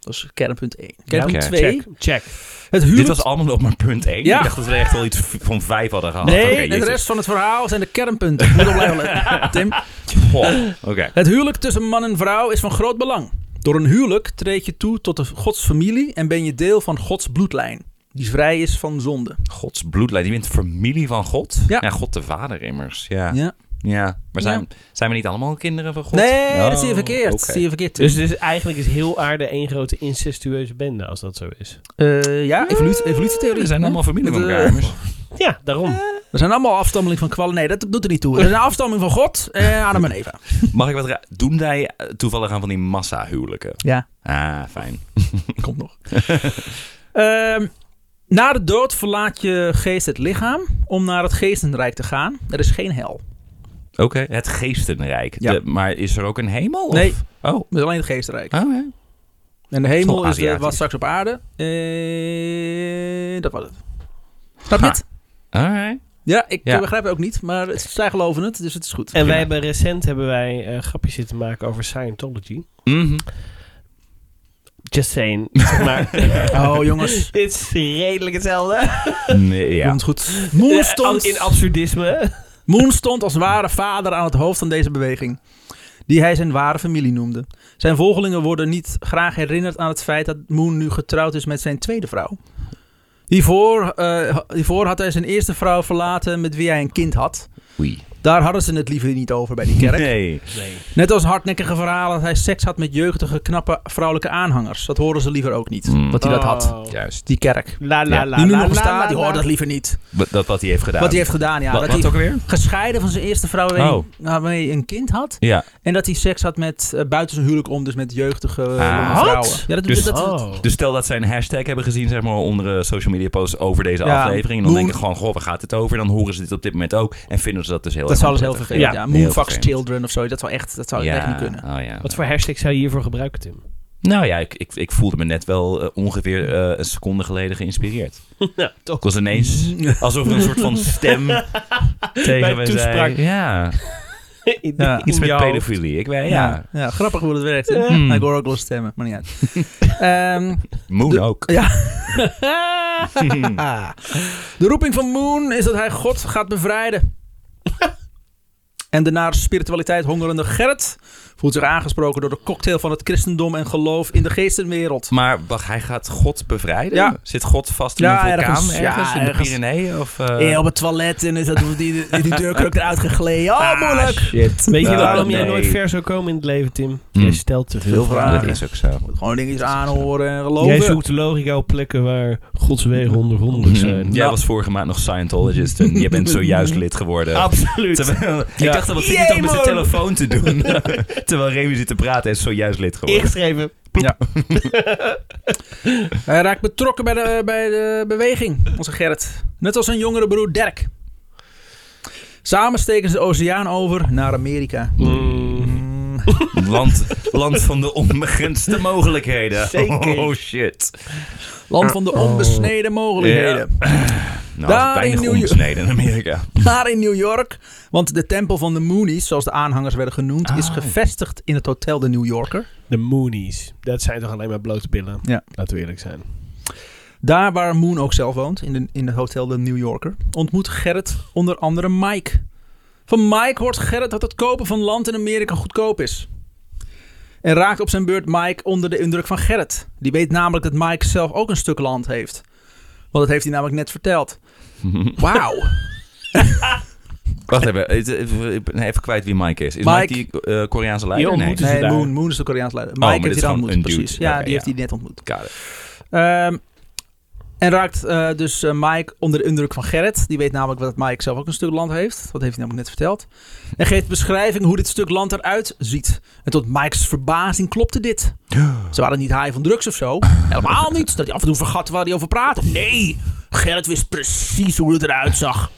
Speaker 1: Dat is kernpunt 1. Kernpunt
Speaker 2: Oké.
Speaker 1: 2.
Speaker 3: Check, check.
Speaker 1: Het huwelijk...
Speaker 2: Dit was allemaal op maar punt 1.
Speaker 1: Ja.
Speaker 2: Ik dacht dat we echt wel iets v- van 5 hadden gehad.
Speaker 1: Nee,
Speaker 2: Oh, Oké,
Speaker 1: de
Speaker 2: Jezus.
Speaker 1: rest van het verhaal zijn de kernpunten. Ik moet op blijven letten. eh, Tim.
Speaker 2: Goh, Oké.
Speaker 1: Het huwelijk tussen man en vrouw is van groot belang. Door een huwelijk treed je toe tot de Gods familie en ben je deel van Gods bloedlijn, die vrij is van zonde.
Speaker 2: Gods bloedlijn. Je bent familie van God.
Speaker 1: Ja.
Speaker 2: God de Vader immers. Ja. ja.
Speaker 1: Ja.
Speaker 2: Maar zijn, zijn we niet allemaal kinderen van Ah, God?
Speaker 1: Nee, dat
Speaker 2: Oh,
Speaker 1: zie je verkeerd.
Speaker 2: oké.
Speaker 1: Dat zie je verkeerd. Tim.
Speaker 3: Dus, dus eigenlijk is heel aarde één grote incestueuze bende, als dat zo is.
Speaker 1: Eh, ja, evolutie, evolutietheorie.
Speaker 2: Ah, We zijn
Speaker 1: hè?
Speaker 2: allemaal familie van
Speaker 1: Dat, eh,
Speaker 2: elkaar. immers.
Speaker 3: Ja, daarom.
Speaker 1: We zijn allemaal afstammeling van kwallen. Nee, dat doet er niet toe. We zijn afstamming van God, eh Adam en Eva.
Speaker 2: Mag ik wat ra- Doen wij eh, toevallig aan van die massa-huwelijken?
Speaker 1: Ja,
Speaker 2: Ah, fijn.
Speaker 1: komt nog. Ehm, na de dood verlaat je geest het lichaam om naar het geestenrijk te gaan. Er is geen hel.
Speaker 2: Oké, het geestenrijk.
Speaker 1: Ja.
Speaker 2: De- maar is er ook een hemel? of-
Speaker 1: Nee.
Speaker 2: Oh.
Speaker 1: Het is alleen het geestenrijk.
Speaker 2: Oh, ja.
Speaker 1: En de hemel
Speaker 2: Wel
Speaker 1: is de,
Speaker 2: Aziatisch.
Speaker 1: was straks op aarde. Eh, dat was het. Snap je
Speaker 2: Ha.
Speaker 1: het?
Speaker 2: Alright.
Speaker 1: Ja, ik
Speaker 2: Ja.
Speaker 1: eh, begrijp het ook niet, maar het, zij geloven het, dus het is goed.
Speaker 3: En wij hebben recent hebben wij eh, grapjes zitten maken over Scientology.
Speaker 2: Mhm.
Speaker 3: Just saying. Zeg maar,
Speaker 1: Oh jongens,
Speaker 3: het is redelijk hetzelfde.
Speaker 2: Nee, ja.
Speaker 1: komt goed. Moon stond,
Speaker 3: In absurdisme.
Speaker 1: Moon stond als ware vader aan het hoofd van deze beweging. Die hij zijn ware familie noemde. Zijn volgelingen worden niet graag herinnerd aan het feit dat Moon nu getrouwd is met zijn tweede vrouw. Hiervoor, eh, hiervoor had hij zijn eerste vrouw verlaten met wie hij een kind had.
Speaker 2: Oei.
Speaker 1: Daar hadden ze het liever niet over bij die kerk.
Speaker 2: Nee.
Speaker 1: Net als hardnekkige verhalen dat hij seks had met jeugdige, knappe vrouwelijke aanhangers. Dat horen ze liever ook niet.
Speaker 2: Mm.
Speaker 1: Dat hij dat had.
Speaker 3: Oh.
Speaker 2: Juist.
Speaker 1: Die kerk.
Speaker 3: La la
Speaker 2: Ja.
Speaker 3: la.
Speaker 1: die nu
Speaker 3: la,
Speaker 1: nog
Speaker 3: la,
Speaker 1: bestaat,
Speaker 3: la,
Speaker 1: die
Speaker 3: la.
Speaker 1: hoort dat liever niet.
Speaker 2: Wat, dat, wat hij heeft gedaan.
Speaker 1: Wat hij heeft gedaan, ja.
Speaker 2: Wat-
Speaker 1: dat
Speaker 2: wat
Speaker 1: hij
Speaker 2: ook alweer?
Speaker 1: gescheiden van zijn eerste vrouw waarmee,
Speaker 2: Oh.
Speaker 1: waarmee een kind had.
Speaker 2: Ja.
Speaker 1: En dat hij seks had met eh, buiten zijn huwelijk om, dus met jeugdige eh,
Speaker 2: Ah.
Speaker 1: jonge
Speaker 2: Wat?
Speaker 1: vrouwen. Ja, dat,
Speaker 2: Dus-
Speaker 1: dat, dat-
Speaker 3: Oh.
Speaker 2: Dus stel dat zij een hashtag hebben gezien, zeg maar, onder eh, social media posts over deze
Speaker 1: Ja,
Speaker 2: aflevering. En dan
Speaker 1: moon-
Speaker 2: denken gewoon, goh, waar gaat het over? En dan horen ze dit op dit moment ook. En vinden ze dat dus heel
Speaker 1: dat
Speaker 2: erg
Speaker 1: zou dus heel
Speaker 2: onprettig.
Speaker 1: vervelend. Ja,
Speaker 2: heel
Speaker 1: Moonfucks
Speaker 2: vervelend.
Speaker 1: Children of zo. Dat zou echt, dat zou echt niet kunnen.
Speaker 2: Oh, ja.
Speaker 3: Wat voor hashtag zou je hiervoor gebruiken, Tim?
Speaker 2: Nou ja, ik, ik, ik voelde me net wel eh, ongeveer eh, een seconde geleden geïnspireerd.
Speaker 3: Nou, toch.
Speaker 2: Ik was ineens alsof er een soort van stem tegen me
Speaker 3: toespraak.
Speaker 2: zei. Ja,
Speaker 1: Ja.
Speaker 2: iets met
Speaker 1: Jouw-
Speaker 2: pedofilie. Ik weet, ja.
Speaker 1: Ja, ja, grappig hoe dat werkt. Hè?
Speaker 2: Mm.
Speaker 1: Ik hoor ook wel stemmen, maar niet uit. Ehm,
Speaker 2: Moon
Speaker 1: De-
Speaker 2: ook.
Speaker 1: Ah. De roeping van Moon is dat hij God gaat bevrijden. en de naar spiritualiteit hongerende Gerrit voelt zich aangesproken door de cocktail van het christendom en geloof in de geestenwereld.
Speaker 2: Maar wacht, hij gaat God bevrijden?
Speaker 1: Ja.
Speaker 2: Zit God vast in
Speaker 1: Ja,
Speaker 2: een vulkaan
Speaker 1: ergens.
Speaker 2: ergens,
Speaker 1: Ja,
Speaker 2: in de
Speaker 1: ergens.
Speaker 2: Pyreneeën? Of, eh,
Speaker 1: Eh, op het toilet en is dat, die, die, die deurkruk eruit gegleden. Oh,
Speaker 2: ah,
Speaker 1: moeilijk.
Speaker 2: shit.
Speaker 3: Weet je
Speaker 2: Nou,
Speaker 3: waarom jij
Speaker 2: nee.
Speaker 3: nooit ver zou komen in het leven, Tim?
Speaker 2: Hmm.
Speaker 3: Jij stelt te veel
Speaker 1: Veel
Speaker 3: vragen.
Speaker 2: Dat is ook zo.
Speaker 1: Gewoon dingetjes aanhoren en geloven.
Speaker 3: Jij zoekt de logica op plekken waar Gods wegen ondergrondig zijn.
Speaker 2: Dus, eh, Jij was vorige maand nog Scientologist en je bent zojuist lid geworden.
Speaker 3: Absoluut.
Speaker 2: Terwijl, Ik dacht al, wat zit hij
Speaker 3: Ah, Jee,
Speaker 2: toch met zijn
Speaker 3: man.
Speaker 2: telefoon te doen? Terwijl Remy zit te praten en is zojuist lid geworden.
Speaker 3: Ingeschreven.
Speaker 1: Hij raakt betrokken bij de, bij de beweging, onze Gerrit. Net als zijn jongere broer Dirk. Samen steken ze de oceaan over naar Amerika.
Speaker 3: Hm.
Speaker 1: Mm.
Speaker 2: Land, land van de onbegrensde mogelijkheden.
Speaker 3: Zeker.
Speaker 2: Oh shit.
Speaker 1: Land van de onbesneden mogelijkheden.
Speaker 2: Nou,
Speaker 1: Daar in
Speaker 2: weinig
Speaker 1: New York.
Speaker 2: onbesneden in Amerika.
Speaker 1: Maar in New York, want de tempel van de Moonies, zoals de aanhangers werden genoemd, is
Speaker 2: Ah.
Speaker 1: gevestigd in het hotel de New Yorker.
Speaker 3: De Moonies. Dat zijn toch alleen maar blote billen?
Speaker 1: Ja.
Speaker 3: Laten we eerlijk zijn.
Speaker 1: Daar waar Moon ook zelf woont, in, de, in het hotel de New Yorker, ontmoet Gerrit onder andere Mike. Van Mike hoort Gerrit dat het kopen van land in Amerika goedkoop is. En raakt op zijn beurt Mike onder de indruk van Gerrit. Die weet namelijk dat Mike zelf ook een stuk land heeft. Want dat heeft hij namelijk net verteld. Wauw.
Speaker 2: Wacht even, eh, even, even, even kwijt wie Mike is. Is Mike,
Speaker 1: Mike.
Speaker 2: die eh, Koreaanse leider?
Speaker 3: Die
Speaker 2: Nee.
Speaker 3: ontmoeten ze
Speaker 1: Nee,
Speaker 3: daar.
Speaker 1: Moon, Moon is de Koreaanse leider. Mike
Speaker 2: Oh, maar dit
Speaker 1: heeft
Speaker 2: is
Speaker 1: hij dan
Speaker 2: gewoon
Speaker 1: ontmoet,
Speaker 2: een dude.
Speaker 1: precies. Ja,
Speaker 2: Oké,
Speaker 1: die heeft
Speaker 2: ja.
Speaker 1: hij net ontmoet.
Speaker 2: Got it.
Speaker 1: Ehm, en raakt eh, dus eh, Mike onder de indruk van Gerrit. Die weet namelijk dat Mike zelf ook een stuk land heeft. Dat heeft hij namelijk net verteld. En geeft beschrijving hoe dit stuk land eruit ziet. En tot Mike's verbazing klopte dit. Ze waren niet high van drugs of zo. Helemaal niet. Dat hij af en toe vergat waar hij over praatte. Nee, Gerrit wist precies hoe het eruit zag.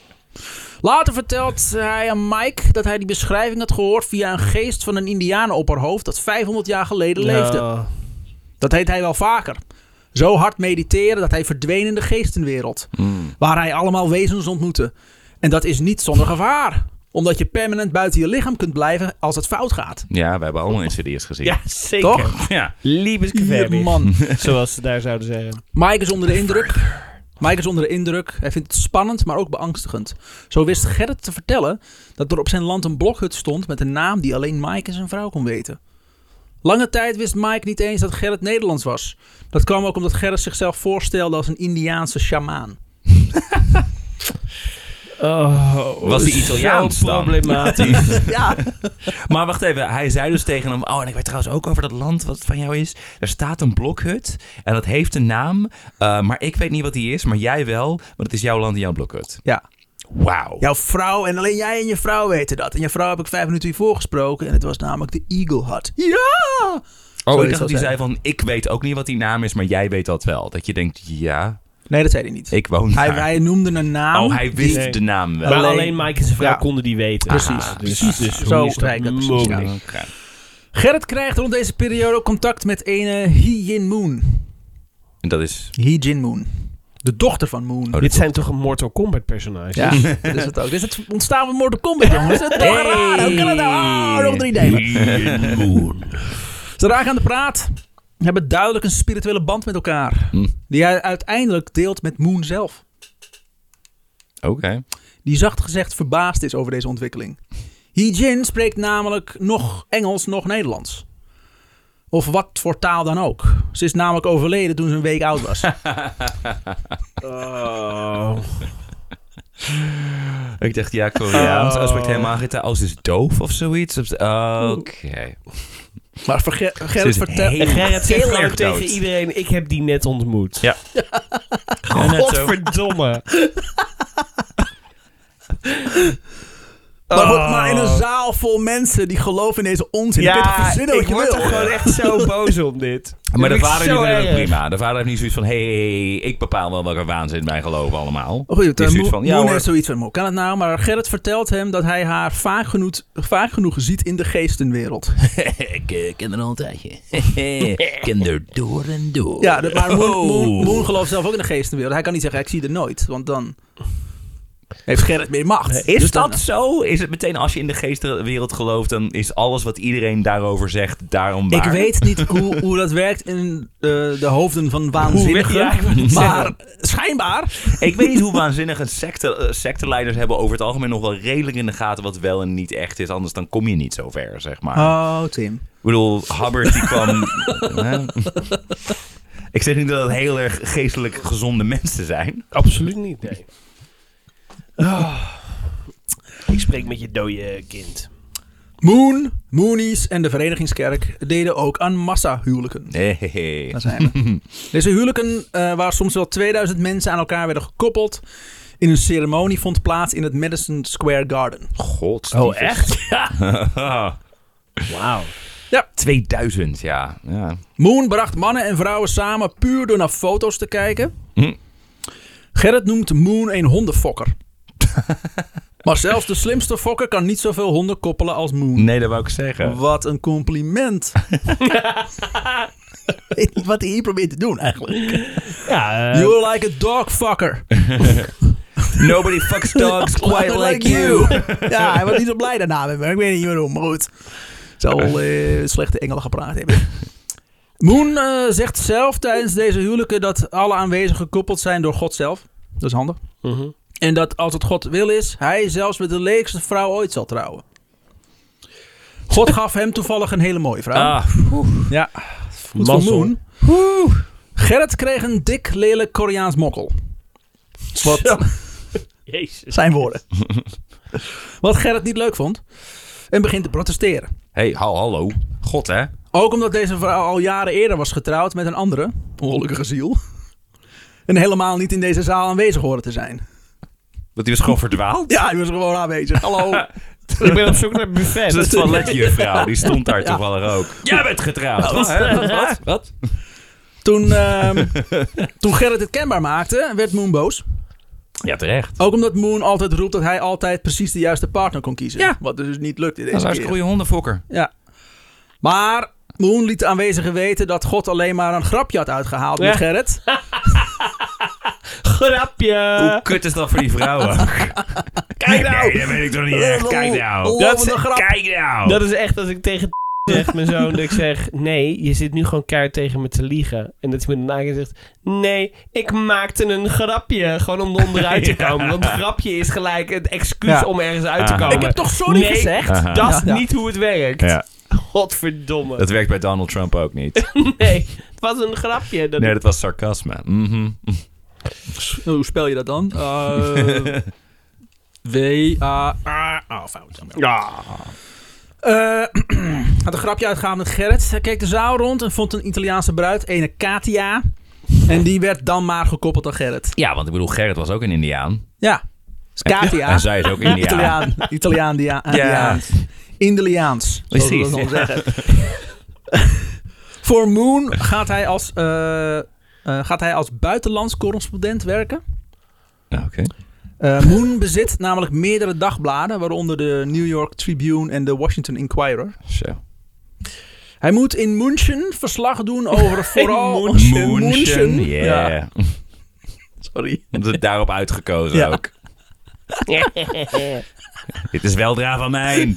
Speaker 1: Later vertelt hij aan Mike dat hij die beschrijving had gehoord via een geest van een indianenopperhoofd dat 500 jaar geleden
Speaker 3: Nou.
Speaker 1: leefde.
Speaker 3: Ja.
Speaker 1: Dat deed hij wel vaker. Zo hard mediteren dat hij verdween in de geestenwereld.
Speaker 2: Mm.
Speaker 1: Waar hij allemaal wezens ontmoette. En dat is niet zonder gevaar. Omdat je permanent buiten je lichaam kunt blijven als het fout gaat.
Speaker 2: Ja, we hebben allemaal insidious gezien.
Speaker 3: Ja, zeker.
Speaker 1: Toch?
Speaker 2: Ja.
Speaker 1: Hier,
Speaker 3: Liebesgevermis.
Speaker 1: man.
Speaker 3: Zoals ze daar zouden zeggen.
Speaker 1: Mike is onder de indruk. Mike is onder de indruk. Hij vindt het spannend, maar ook beangstigend. Zo wist Gerrit te vertellen dat er op zijn land een blokhut stond met een naam die alleen Mike en zijn vrouw kon weten. Lange tijd wist Mike niet eens dat Gerrit Nederlands was. Dat kwam ook omdat Gerrit zichzelf voorstelde als een Indiaanse sjamaan.
Speaker 3: Oh,
Speaker 2: Was die Italiaans
Speaker 3: zo
Speaker 2: dan?
Speaker 3: problematisch.
Speaker 1: Ja,
Speaker 2: Maar wacht even, hij zei dus tegen hem... Oh, en ik weet trouwens ook over dat land wat van jou is. Er staat een blokhut en dat heeft een naam. eh, maar ik weet niet wat die is, maar jij wel. Want het is jouw land en jouw blokhut.
Speaker 1: ja.
Speaker 2: Wauw.
Speaker 1: Jouw vrouw en alleen jij en je vrouw weten dat. En je vrouw heb ik vijf minuten hiervoor gesproken. En het was namelijk de Eagle Hut. Ja!
Speaker 2: oh,
Speaker 1: Sorry,
Speaker 2: ik dacht dat hij
Speaker 1: zo
Speaker 2: zei van... Ik weet ook niet wat die naam is, maar jij weet dat wel. Dat je denkt, ja,
Speaker 1: Nee, dat zei hij niet.
Speaker 2: ik woon
Speaker 1: Hij,
Speaker 2: daar.
Speaker 1: hij noemde een naam.
Speaker 2: oh, hij wist
Speaker 3: Nee.
Speaker 2: de naam wel.
Speaker 3: Maar alleen,
Speaker 1: Alleen
Speaker 3: Mike en zijn vrouw
Speaker 1: Ja.
Speaker 3: konden die weten.
Speaker 1: Precies.
Speaker 3: Ah,
Speaker 1: Precies. Zo
Speaker 3: hoe is dat
Speaker 1: rijk dat precies,
Speaker 3: mogelijk?
Speaker 1: ja.
Speaker 2: Oké.
Speaker 1: Gerrit krijgt rond deze periode ook contact met een eh, Hee Jin Moon.
Speaker 2: En dat is...
Speaker 1: Hee Jin Moon. De dochter van Moon.
Speaker 2: Oh,
Speaker 3: Dit zijn toch een Mortal Kombat personage?
Speaker 1: Ja, dat is het ook. Dit is het ontstaan van Mortal Kombat, jongens. Dat is toch
Speaker 3: Hey.
Speaker 1: raar. Hoe kan het nou? Ah, nog drie delen. Ze raken aan de praat. Hebben duidelijk een spirituele band met elkaar.
Speaker 2: Hm.
Speaker 1: Die hij uiteindelijk deelt met Moon zelf.
Speaker 2: Oké.
Speaker 1: die zacht gezegd verbaasd is over deze ontwikkeling. Hee Jin spreekt namelijk nog Engels, nog Nederlands. Of wat voor taal dan ook. Ze is namelijk overleden toen ze een week oud was.
Speaker 3: Oh.
Speaker 2: Ik dacht, ja, Koreaans.
Speaker 1: Oh.
Speaker 2: Als wordt helemaal geen taal. Als is doof of zoiets. Of- Oké.
Speaker 1: Maar voor Ger-
Speaker 2: Ze
Speaker 1: Gerrit
Speaker 2: is
Speaker 1: vertel...
Speaker 2: heel
Speaker 3: Gerrit zegt
Speaker 2: heel
Speaker 3: gewoon
Speaker 2: erg dood.
Speaker 3: tegen iedereen, ik heb die net ontmoet.
Speaker 2: Ja. Gewoon net zo.
Speaker 3: Godverdomme.
Speaker 1: Maar, goed,
Speaker 2: Oh.
Speaker 1: maar in een
Speaker 3: Oh.
Speaker 1: zaal vol mensen die geloven in deze onzin. Ja, je kunt toch verzinnen wat
Speaker 3: ik
Speaker 1: je
Speaker 3: word
Speaker 1: wil?
Speaker 3: er gewoon echt zo boos om dit.
Speaker 2: Maar de
Speaker 3: Dit
Speaker 2: vader
Speaker 3: vind ik
Speaker 2: die
Speaker 3: zo
Speaker 2: vindt het
Speaker 3: erg.
Speaker 2: prima. De vader heeft niet zoiets van... Hé, hey, ik bepaal wel welke waanzin wij geloven allemaal.
Speaker 1: Oh, goed,
Speaker 2: Die
Speaker 1: eh,
Speaker 2: is zoiets
Speaker 1: Moon-
Speaker 2: van, ja
Speaker 1: Moon
Speaker 2: hoor.
Speaker 1: heeft zoiets van, hoe kan het nou? Maar Gerrit vertelt hem dat hij haar vaak genoeg, vaak genoeg ziet in de geestenwereld.
Speaker 2: ik eh, ken er al een tijdje. Ik ken er door en door.
Speaker 1: Ja, de- maar Moon, Moon,
Speaker 2: Oh.
Speaker 1: Moon gelooft zelf ook in de geestenwereld. Hij kan niet zeggen, ik zie er nooit. Want dan heeft Gerrit meer macht.
Speaker 2: Is
Speaker 1: Dus dan-
Speaker 2: dat zo? Is het meteen als je in de geestenwereld gelooft... dan is alles wat iedereen daarover zegt daarom waar?
Speaker 1: Ik weet niet hoe, hoe dat werkt in eh, de hoofden van
Speaker 3: ja, ik wou
Speaker 1: waanzinnigen.
Speaker 3: het
Speaker 1: maar schijnbaar.
Speaker 2: Ik weet niet hoe waanzinnig een secte, eh, secteleiders hebben over het algemeen nog wel redelijk in de gaten wat wel en niet echt is. Anders dan kom je niet zo ver, zeg maar.
Speaker 1: Oh, Tim.
Speaker 2: Ik bedoel, Hubbard die kwam... Hè? Ik zeg niet dat het heel erg geestelijk gezonde mensen zijn.
Speaker 3: Absoluut niet, nee. Ah. Ik spreek met je dode kind.
Speaker 1: Moon, Moonies en de Verenigingskerk deden ook aan massahuwelijken.
Speaker 2: Nee.
Speaker 1: Daar zijn we. Deze huwelijken, eh, waar soms wel 2000 mensen aan elkaar werden gekoppeld, in een ceremonie vond plaats in het Madison Square Garden.
Speaker 2: God.
Speaker 3: Oh, echt? Wauw.
Speaker 2: 2000, ja. ja.
Speaker 1: Moon bracht mannen en vrouwen samen puur door naar foto's te kijken.
Speaker 2: Hm.
Speaker 1: Gerrit noemt Moon een hondenfokker. maar zelfs de slimste fokker kan niet zoveel honden koppelen als Moon.
Speaker 2: Nee, dat wou ik zeggen.
Speaker 1: Wat een compliment. Wat hij hier probeert te doen eigenlijk.
Speaker 3: Ja, eh,
Speaker 1: You're like a dog fucker.
Speaker 2: Nobody fucks dogs quite like you.
Speaker 1: ja, hij was niet zo blij daarna met me. Ik weet niet waarom, maar goed. Zal wel eh, slechte engelen gepraat hebben. Moon eh, zegt zelf tijdens deze huwelijken dat alle aanwezigen gekoppeld zijn door God zelf. Dat is handig.
Speaker 3: mhm.
Speaker 1: En dat als het God wil is, hij zelfs met de leegste vrouw ooit zal trouwen. God gaf hem toevallig een hele mooie vrouw.
Speaker 2: Ah,
Speaker 1: ja, goed van
Speaker 3: mazzel.
Speaker 1: Moon. Gerrit kreeg een dik, lelijk Koreaans mokkel. Wat,
Speaker 3: Jezus.
Speaker 1: zijn woorden. Wat Gerrit niet leuk vond. En begint te protesteren.
Speaker 2: hey, hal- hallo. God, hè?
Speaker 1: Ook omdat deze vrouw al jaren eerder was getrouwd met een andere, ongelukkige ziel. En helemaal niet in deze zaal aanwezig horen te zijn.
Speaker 2: Want die was gewoon verdwaald.
Speaker 1: Ja, hij was gewoon aanwezig. Hallo.
Speaker 3: Ik ben op zoek naar buffet.
Speaker 2: Dat toiletjuffrouw, die stond daar
Speaker 1: Ja.
Speaker 2: toevallig ook. Jij bent getrouwd. Wat? hè? Wat? Wat? Wat?
Speaker 1: Toen, ehm, toen Gerrit het kenbaar maakte, werd Moon boos.
Speaker 2: Ja, terecht.
Speaker 1: Ook omdat Moon altijd roept dat hij altijd precies de juiste partner kon kiezen.
Speaker 2: Ja.
Speaker 1: Wat dus niet lukt in
Speaker 2: Dat is
Speaker 1: deze
Speaker 2: een
Speaker 1: keer.
Speaker 2: goede hondenfokker.
Speaker 1: Ja. Maar Moon liet de aanwezigen weten dat God alleen maar een grapje had uitgehaald met
Speaker 3: Ja.
Speaker 1: Gerrit.
Speaker 2: Hoe
Speaker 3: Grapje.
Speaker 2: kut is dat voor die vrouwen? Eh. Kijk nou! Nee, dat weet ik toch niet echt. Kijk nou.
Speaker 1: Dat
Speaker 3: is-
Speaker 1: is een grap.
Speaker 2: Kijk nou.
Speaker 3: Dat is echt als ik tegen zeg, mijn zoon, dat ik zeg... Nee, je zit nu gewoon keihard tegen me te liegen. En dat hij me daarna zegt... Nee, ik maakte een grapje. Gewoon om onderuit te komen. Want een grapje is gelijk het excuus
Speaker 1: Ja.
Speaker 3: om ergens uit te
Speaker 2: Ah.
Speaker 3: komen.
Speaker 1: Ik heb toch sorry
Speaker 3: Nee.
Speaker 1: gezegd?
Speaker 2: Aha.
Speaker 3: Dat is
Speaker 1: Ja.
Speaker 3: niet hoe het werkt.
Speaker 2: Ja,
Speaker 3: Godverdomme.
Speaker 2: dat werkt bij Donald Trump ook niet.
Speaker 3: Nee, het was een grapje. Dat
Speaker 2: Nee, dat was sarcasme. Mhm.
Speaker 1: Nou, Hoe spel je dat dan? Eh, W, A, A. Oh, fout. Jammer.
Speaker 3: Ja.
Speaker 1: Eh, had een grapje uitgehaald met Gerrit. Hij keek de zaal rond en vond een Italiaanse bruid, ene Katia. En die werd dan maar gekoppeld aan Gerrit.
Speaker 2: Ja, want ik bedoel, Gerrit was ook een Indiaan.
Speaker 1: Ja, is Katia.
Speaker 2: En zij is ook Indiaan.
Speaker 1: Italiaan. Italiaan, dia,
Speaker 2: Ja.
Speaker 1: Indiaans. Indeliaans. zoals we
Speaker 2: Precies,
Speaker 1: dat dan zeggen. Voor Moon gaat hij als, eh, eh, gaat hij als buitenlands correspondent werken.
Speaker 2: Ja, Oké.
Speaker 1: Eh, Moon bezit namelijk meerdere dagbladen, waaronder de New York Tribune en de Washington Inquirer.
Speaker 2: Zo.
Speaker 1: Hij moet in München verslag doen over vooral...
Speaker 3: München.
Speaker 1: München,
Speaker 2: Yeah.
Speaker 1: ja. Sorry.
Speaker 2: Dat is daarop uitgekozen
Speaker 1: Ja.
Speaker 2: ook. Dit is weldra van mij.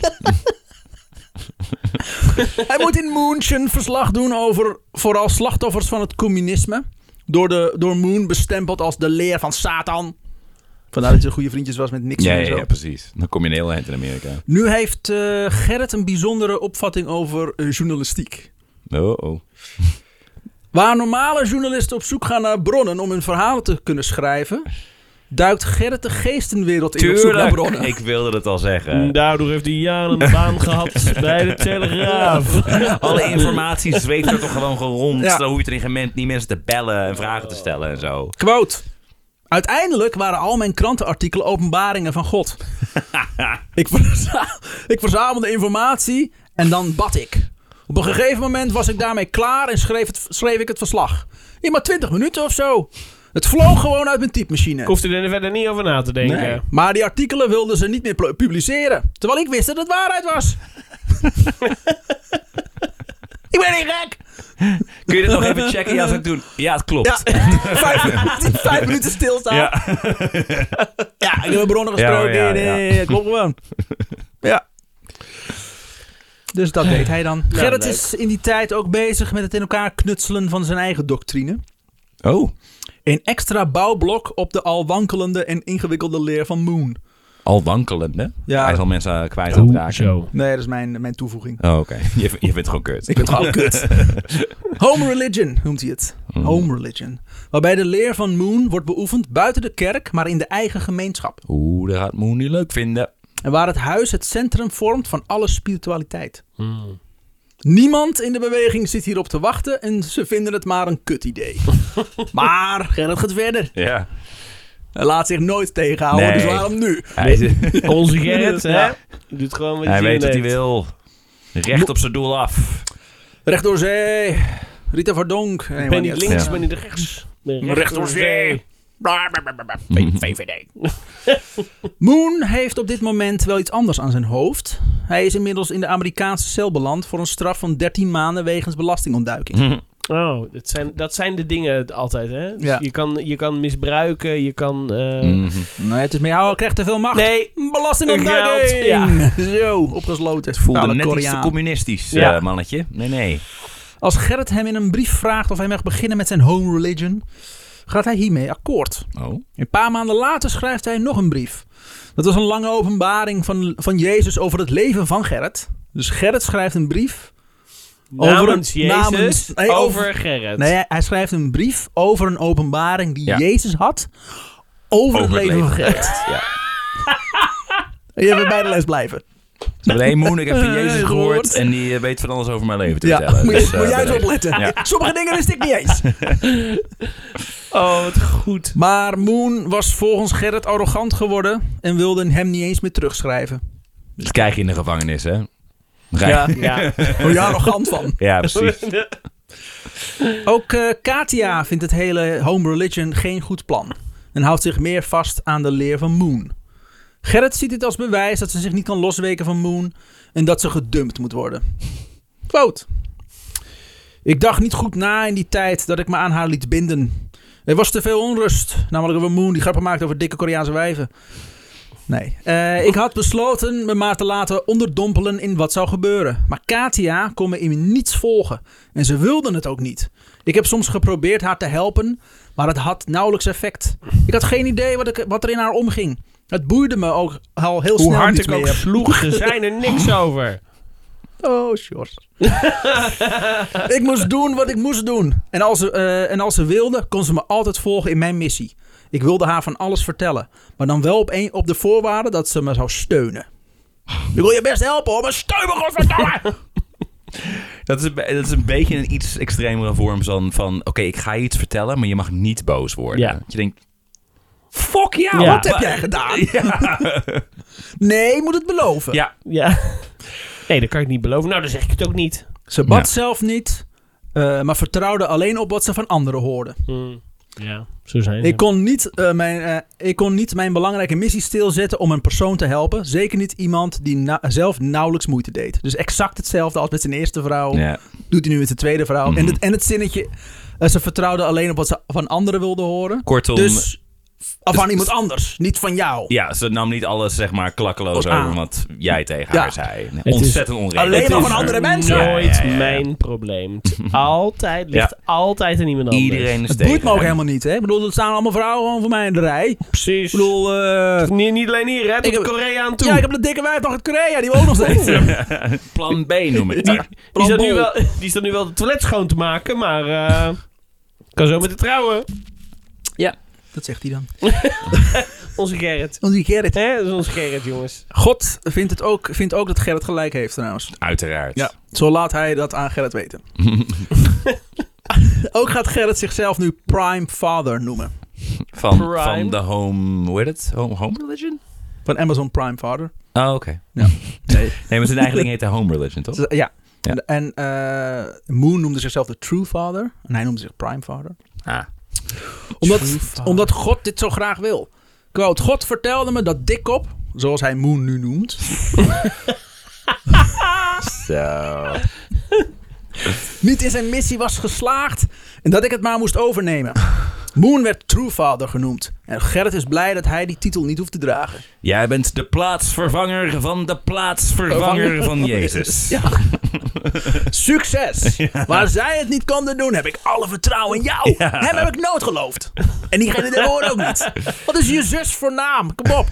Speaker 1: Hij moet in München verslag doen over vooral slachtoffers van het communisme. Door, de, door Moon bestempeld als de leer van Satan. Vandaar dat hij goede vriendjes was met Nixon
Speaker 2: Ja,
Speaker 1: en zo.
Speaker 2: ja, ja, precies. Dan kom je een heel eind in Amerika.
Speaker 1: Nu heeft eh, Gerrit een bijzondere opvatting over eh, journalistiek.
Speaker 2: Oh, oh.
Speaker 1: Waar normale journalisten op zoek gaan naar bronnen om hun verhalen te kunnen schrijven, duikt Gerrit de geestenwereld in op zoek naar
Speaker 2: Tuurlijk,
Speaker 1: bronnen.
Speaker 2: ik wilde het al zeggen.
Speaker 1: Mm.
Speaker 3: Daardoor heeft hij jaren een baan gehad bij de Telegraaf.
Speaker 2: Alle informatie zweeft er toch gewoon rond.
Speaker 1: Ja.
Speaker 2: Dan hoef je er in geen moment niet mensen te bellen en vragen te stellen en zo.
Speaker 1: Quote. Uiteindelijk waren al mijn krantenartikelen openbaringen van God. ik, verza- ik verzamelde informatie en dan bad ik. Op een gegeven moment was ik daarmee klaar en schreef, het, schreef ik het verslag. In maar 20 minuten of zo. Het vloog gewoon uit mijn typemachine.
Speaker 3: Ik hoefde er verder niet over na te denken.
Speaker 2: Nee.
Speaker 1: Maar die artikelen wilden ze niet meer pl- publiceren. Terwijl ik wist dat het waarheid was. ik ben niet gek!
Speaker 2: Kun je dit nog even checken? Ja, zou ik doen. Ja, het klopt.
Speaker 1: Ja, vijf, vijf minuten stilstaan. Ja. ik heb mijn bronnen
Speaker 2: Ja, oh
Speaker 1: gesproken.
Speaker 2: ja, ja.
Speaker 1: Nee, dat klopt gewoon. Ja. Dus dat deed hij dan. Gerrit
Speaker 3: leuk.
Speaker 1: is in die tijd ook bezig met het in elkaar knutselen van zijn eigen doctrine.
Speaker 2: Oh,
Speaker 1: Een extra bouwblok op de al wankelende en ingewikkelde leer van Moon.
Speaker 2: al wankelend, hè?
Speaker 1: Ja.
Speaker 2: Hij is al mensen kwijt aan het raken.
Speaker 3: zo.
Speaker 1: Nee, dat is mijn, mijn toevoeging.
Speaker 2: Oh, oké. Je, je vindt het gewoon kut.
Speaker 1: Ik vind het gewoon kut. Home religion noemt hij het.
Speaker 2: Mm.
Speaker 1: Home religion. Waarbij de leer van Moon wordt beoefend buiten de kerk, maar in de eigen gemeenschap.
Speaker 2: Oeh, dat gaat Moon niet leuk vinden.
Speaker 1: En waar het huis het centrum vormt van alle spiritualiteit.
Speaker 3: Hmm.
Speaker 1: Niemand in de beweging zit hierop te wachten en ze vinden het maar een kut idee. maar Gerrit gaat verder.
Speaker 2: Ja.
Speaker 1: Hij laat zich nooit tegenhouden,
Speaker 2: Nee.
Speaker 1: dus waarom nu?
Speaker 2: Hij,
Speaker 3: Onze Gerrit, hè?
Speaker 1: Ja.
Speaker 3: Doet gewoon wat
Speaker 2: hij
Speaker 3: zin
Speaker 2: weet wat hij
Speaker 3: heeft.
Speaker 2: wil. Recht op zijn doel af.
Speaker 1: Recht door zee, Rita Verdonk. Nee,
Speaker 3: Ik
Speaker 1: maar
Speaker 3: ben
Speaker 1: niet
Speaker 3: niet
Speaker 1: uit.
Speaker 3: links,
Speaker 2: Ja.
Speaker 3: ben niet rechts. Ben
Speaker 4: Recht door zee.
Speaker 2: Mhm.
Speaker 4: VVD.
Speaker 1: Moon heeft op dit moment wel iets anders aan zijn hoofd. Hij is inmiddels in de Amerikaanse cel beland voor een straf van 13 maanden wegens
Speaker 2: Hm.
Speaker 1: belastingontduiking.
Speaker 3: Oh, dat zijn, dat zijn de dingen altijd, hè? Dus
Speaker 1: Ja.
Speaker 3: je, kan, je kan misbruiken, je kan... eh,
Speaker 2: Mhm.
Speaker 1: Nee, het is meer, oh, hij krijgt te veel macht.
Speaker 3: Nee,
Speaker 1: Belastingontduiking!
Speaker 3: Geld, ja.
Speaker 1: Zo, opgesloten.
Speaker 2: Het voelde
Speaker 1: Kale
Speaker 2: Nou, net iets te
Speaker 1: Koreaan.
Speaker 2: communistisch,
Speaker 3: Ja.
Speaker 2: eh, mannetje. Nee, nee.
Speaker 1: Als Gerrit hem in een brief vraagt of hij mag beginnen met zijn home religion, gaat hij hiermee akkoord.
Speaker 2: Oh.
Speaker 1: Een paar maanden later schrijft hij nog een brief. Dat was een lange openbaring van, van Jezus over het leven van Gerrit. Dus Gerrit schrijft een brief.
Speaker 3: namens
Speaker 1: een-
Speaker 3: Jezus,
Speaker 1: namens- nee,
Speaker 3: over,
Speaker 1: over-
Speaker 3: Gerrit.
Speaker 1: Nee, hij- hij schrijft een brief over een openbaring die
Speaker 2: Ja.
Speaker 1: Jezus had over, het leven van Gerrit.
Speaker 2: Ja.
Speaker 1: Je bent bij de les blijven.
Speaker 2: Nee, Moon, ik heb van Jezus
Speaker 1: Eh,
Speaker 2: gehoord
Speaker 1: gehoord.
Speaker 2: en die eh, weet van alles over mijn leven te
Speaker 1: Ja,
Speaker 2: vertellen.
Speaker 1: moet,
Speaker 2: Dus,
Speaker 1: je-
Speaker 2: eh,
Speaker 1: moet jij eens
Speaker 2: bij deze.
Speaker 1: opletten.
Speaker 2: Ja.
Speaker 1: Sommige dingen wist ik niet eens.
Speaker 3: Oh, wat goed.
Speaker 1: Maar Moon was volgens Gerrit arrogant geworden en wilde hem niet eens meer terugschrijven.
Speaker 2: dus Dat krijg je in de gevangenis, hè? Rij-
Speaker 1: Ja.
Speaker 3: Ja.
Speaker 1: Hoe je arrogant van.
Speaker 2: ja, precies.
Speaker 1: Ook eh, Katia vindt het hele home religion geen goed plan. En houdt zich meer vast aan de leer van Moon. Gerrit ziet dit als bewijs dat ze zich niet kan losweken van Moon. En dat ze gedumpt moet worden. Quote. Ik dacht niet goed na in die tijd dat ik me aan haar liet binden. Er was te veel onrust. Namelijk over Moon die grappen maakt over dikke Koreaanse wijven. Nee. Eh, ik had besloten me maar te laten onderdompelen in wat zou gebeuren. Maar Katia kon me in niets volgen. En ze wilden het ook niet. Ik heb soms geprobeerd haar te helpen, maar het had nauwelijks effect. Ik had geen idee wat, ik, wat er in haar omging. Het boeide me ook al heel
Speaker 3: Hoe
Speaker 1: snel
Speaker 3: hard
Speaker 1: niet
Speaker 3: ik ook
Speaker 1: meer.
Speaker 3: sloeg, ze zijn er niks over.
Speaker 1: Oh, Sjors. ik moest doen wat ik moest doen. En als, ze, eh, en als ze wilde, kon ze me altijd volgen in mijn missie. Ik wilde haar van alles vertellen. Maar dan wel op, een, op de voorwaarde dat ze me zou steunen. Ik wil je best helpen hoor, maar steun me godverdomme!
Speaker 2: Dat is, een be- dat is een beetje een iets extremere vorm van, van oké, ik ga je iets vertellen, maar je mag niet boos worden.
Speaker 3: Ja.
Speaker 2: Dat Je denkt, fuck jou!
Speaker 3: Ja.
Speaker 1: Wat heb jij gedaan?
Speaker 2: Ja.
Speaker 1: Nee, je moet het beloven.
Speaker 2: ja.
Speaker 3: Ja. Nee, dat kan ik niet beloven. Nou, dan zeg ik het ook niet.
Speaker 1: Ze bad
Speaker 2: Ja.
Speaker 1: zelf niet, eh, maar vertrouwde alleen op wat ze van anderen hoorde.
Speaker 2: Hmm.
Speaker 3: Ja, zo zijn
Speaker 1: Ik kon, niet, eh, mijn, eh, ik kon niet mijn belangrijke missie stilzetten om een persoon te helpen. Zeker niet iemand die na- zelf nauwelijks moeite deed. Dus exact hetzelfde als met zijn eerste vrouw.
Speaker 2: Ja.
Speaker 1: Doet hij nu met zijn tweede vrouw.
Speaker 2: Mhm.
Speaker 1: en, het, en het zinnetje, eh, ze vertrouwde alleen op wat ze van anderen wilde horen.
Speaker 2: Kortom,
Speaker 1: dus af van
Speaker 2: dus-
Speaker 1: iemand anders, niet van jou.
Speaker 2: ja, ze nam niet alles zeg maar klakkeloos
Speaker 1: Als
Speaker 2: over
Speaker 1: aan.
Speaker 2: wat jij tegen
Speaker 1: Ah. Ja.
Speaker 2: haar zei.
Speaker 3: is
Speaker 2: Ontzettend onredelijk.
Speaker 1: alleen maar
Speaker 2: Het
Speaker 1: van
Speaker 2: is-
Speaker 1: andere mensen.
Speaker 3: Nooit
Speaker 2: Ja, ja, ja, ja.
Speaker 3: mijn probleem. Het Altijd ligt altijd aan iemand anders.
Speaker 2: Iedereen is
Speaker 1: Het
Speaker 2: tegen.
Speaker 1: boeit me ook
Speaker 2: hem.
Speaker 1: helemaal niet, hè? Ik bedoel, er staan allemaal vrouwen gewoon voor mij in de rij. Ik
Speaker 3: Precies.
Speaker 1: bedoel, eh,
Speaker 3: niet, niet alleen hier, hè? Tot
Speaker 1: Ik heb-
Speaker 3: Korea aan toe.
Speaker 1: ja, ik heb de dikke wijf nog uit Korea, die woont nog steeds.
Speaker 2: Plan B noem ik dat.
Speaker 3: die, staat nu
Speaker 1: Bol.
Speaker 3: wel, die staat nu wel het toilet schoon te maken, maar... eh, kan zo met de trouwen.
Speaker 1: Dat zegt hij dan.
Speaker 3: Onze Gerrit.
Speaker 1: Want die Gerrit.
Speaker 3: Hè, dat is onze Gerrit, jongens.
Speaker 1: God vindt, het ook, vindt ook dat Gerrit gelijk heeft trouwens.
Speaker 2: Uiteraard.
Speaker 1: Ja, zo laat hij dat aan Gerrit weten. ook gaat Gerrit zichzelf nu Prime Father noemen.
Speaker 2: Van,
Speaker 3: Prime.
Speaker 2: van de home, hoe heet het? Home, home religion?
Speaker 1: Van Amazon Prime Father.
Speaker 2: Oh, oké.
Speaker 1: Nee.
Speaker 2: Nee, maar zijn eigen ding heet de home religion, toch?
Speaker 1: Dus, ja.
Speaker 2: Ja.
Speaker 1: En eh, Moon noemde zichzelf de True Father. En hij noemde zich Prime Father.
Speaker 2: Ah.
Speaker 1: Omdat,
Speaker 3: True Father.
Speaker 1: omdat God dit zo graag wil. Quote, God vertelde me dat Dikkop, zoals hij Moon nu noemt,
Speaker 2: Zo.
Speaker 1: niet in zijn missie was geslaagd en dat ik het maar moest overnemen. Moon werd True Father genoemd. En Gerrit is blij dat hij die titel niet hoeft te dragen.
Speaker 2: Jij bent de plaatsvervanger van de plaatsvervanger van Jezus.
Speaker 1: Ja. Succes! Waar zij het niet konden doen, heb ik alle vertrouwen in jou.
Speaker 2: Ja.
Speaker 1: Hem heb ik nooit geloofd. En diegene daarvoor ook niet. Wat is je zus voor naam? Kom op.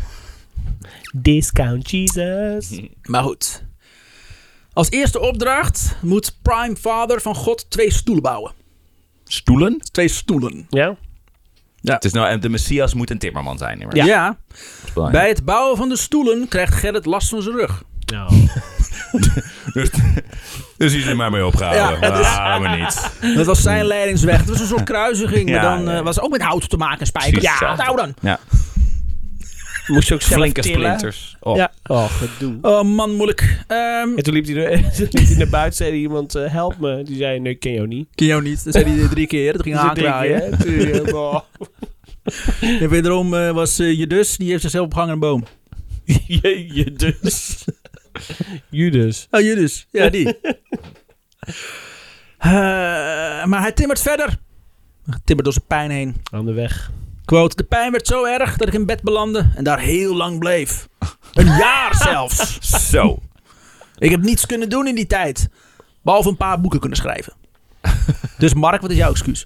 Speaker 3: Discount Jesus.
Speaker 1: Maar goed. Als eerste opdracht moet Prime Father van God twee stoelen bouwen.
Speaker 2: Stoelen?
Speaker 1: Twee stoelen.
Speaker 3: Ja?
Speaker 2: Het is nou, de Messias moet een timmerman zijn. nee, maar
Speaker 1: Ja.
Speaker 2: dat is belangrijk.
Speaker 1: Bij het bouwen van de stoelen krijgt Gerrit last van zijn rug.
Speaker 2: Nou. Dus, dus die is er maar mee opgehouden.
Speaker 1: Ja,
Speaker 2: Ja,
Speaker 1: het is-
Speaker 2: maar niet.
Speaker 1: Dat was zijn leidingsweg. Het was een soort kruising.
Speaker 2: Mm. Ja,
Speaker 1: maar dan
Speaker 2: ja.
Speaker 1: eh, was ook met hout te maken en spijkers.
Speaker 2: Precies
Speaker 1: Ja,
Speaker 2: hetzelfde.
Speaker 1: nou dan.
Speaker 2: Ja,
Speaker 3: Moest je ook zelf
Speaker 2: flinke
Speaker 3: tillen.
Speaker 2: splinters. Oh.
Speaker 3: Ja. Oh, gedoe.
Speaker 1: Oh man, moeilijk. Ehm,
Speaker 3: En toen liep hij, er, toen liep hij naar buiten zei hij iemand, eh, help me. Die zei, nee, ik ken jou niet.
Speaker 1: ken jou niet. Dat zei hij drie keer. Dat ging
Speaker 3: Dus ik denk,
Speaker 1: aankraaien.
Speaker 3: ja, tuurlijk, oh.
Speaker 1: En wederom eh, was eh, je dus, die heeft zichzelf opgehangen aan een boom.
Speaker 3: Je, je dus. Judas.
Speaker 1: Oh, je dus. Ja, die. Eh, maar hij timmert verder. Hij timmert door zijn pijn heen.
Speaker 3: Aan de weg.
Speaker 1: Quote, de pijn werd zo erg dat ik in bed belandde en daar heel lang bleef. Een jaar zelfs.
Speaker 2: Zo.
Speaker 1: Ik heb niets kunnen doen in die tijd. Behalve een paar boeken kunnen schrijven. Dus Mark, wat is jouw excuus?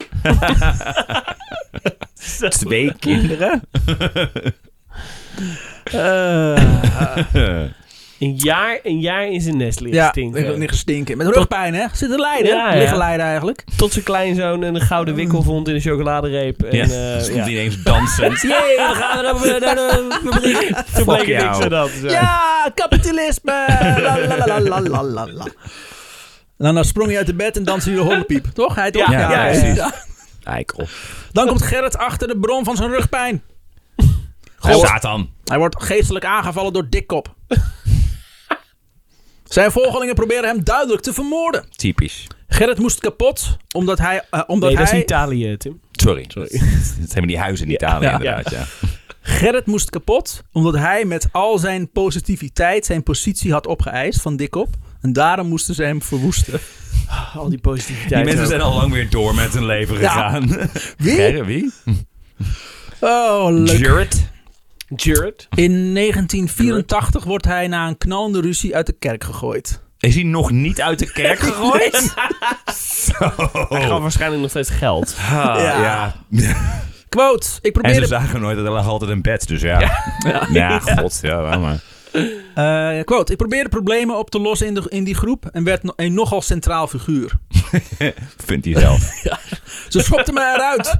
Speaker 2: Twee kinderen?
Speaker 1: Eh.
Speaker 3: Een jaar, een jaar in zijn nest liggen
Speaker 1: ja,
Speaker 3: stinken.
Speaker 1: ik wil niet gestinken. Met rugpijn, hè? Zit te lijden.
Speaker 3: eh. Ja, ja.
Speaker 1: Liggen lijden eigenlijk.
Speaker 3: Tot zijn kleinzoon een gouden wikkel vond in een chocoladereep. En,
Speaker 2: Ja.
Speaker 3: eh
Speaker 2: Stond
Speaker 3: ja.
Speaker 2: ineens dansend.
Speaker 1: Jee, we gaan naar de, naar de fabriek.
Speaker 3: Toen bleek
Speaker 2: Fuck
Speaker 3: niks
Speaker 2: jou.
Speaker 3: aan dat. te zijn.
Speaker 1: Ja, kapitalisme! La, la, la, la, la, la, la. En dan sprong hij uit de bed en danste hij de hondenpiep, toch? Hij toch?
Speaker 3: Ja,
Speaker 2: ja,
Speaker 3: precies.
Speaker 2: Eikel.
Speaker 1: Dan komt Gerrit achter de bron van zijn rugpijn. God.
Speaker 2: Satan.
Speaker 1: Hij wordt geestelijk aangevallen door Dikkop. Zijn volgelingen proberen hem duidelijk te vermoorden.
Speaker 2: Typisch.
Speaker 1: Gerrit moest kapot, omdat hij... eh, omdat
Speaker 3: Nee, dat is
Speaker 1: hij
Speaker 3: Italië, Tim.
Speaker 2: Sorry. Het zijn die huizen in Italië
Speaker 1: Ja.
Speaker 2: inderdaad, ja.
Speaker 1: Gerrit moest kapot, omdat hij met al zijn positiviteit zijn positie had opgeëist van Dikkop. En daarom moesten ze hem verwoesten.
Speaker 3: Al die positiviteit.
Speaker 2: Die mensen zijn al lang weer door met hun
Speaker 1: Ja.
Speaker 2: leven gegaan.
Speaker 1: Wie?
Speaker 2: Gerrit, wie?
Speaker 1: Oh, leuk.
Speaker 2: Jared?
Speaker 3: Jared.
Speaker 1: In 1984 wordt hij na een knallende ruzie uit de kerk gegooid.
Speaker 2: Is hij nog niet uit de kerk gegooid? Oh.
Speaker 3: Hij gaf waarschijnlijk nog steeds geld.
Speaker 2: Ah,
Speaker 1: Ja.
Speaker 2: ja.
Speaker 1: Quote, ik
Speaker 2: En ze
Speaker 1: probeerde...
Speaker 2: zagen nooit, er lag altijd een bed, dus ja. Ja, god, ja, wel, maar.
Speaker 1: Eh, quote, ik probeerde problemen op te lossen in, de, in die groep en werd no- een nogal centraal figuur.
Speaker 2: Vindt hij zelf.
Speaker 1: Ze schopten me eruit.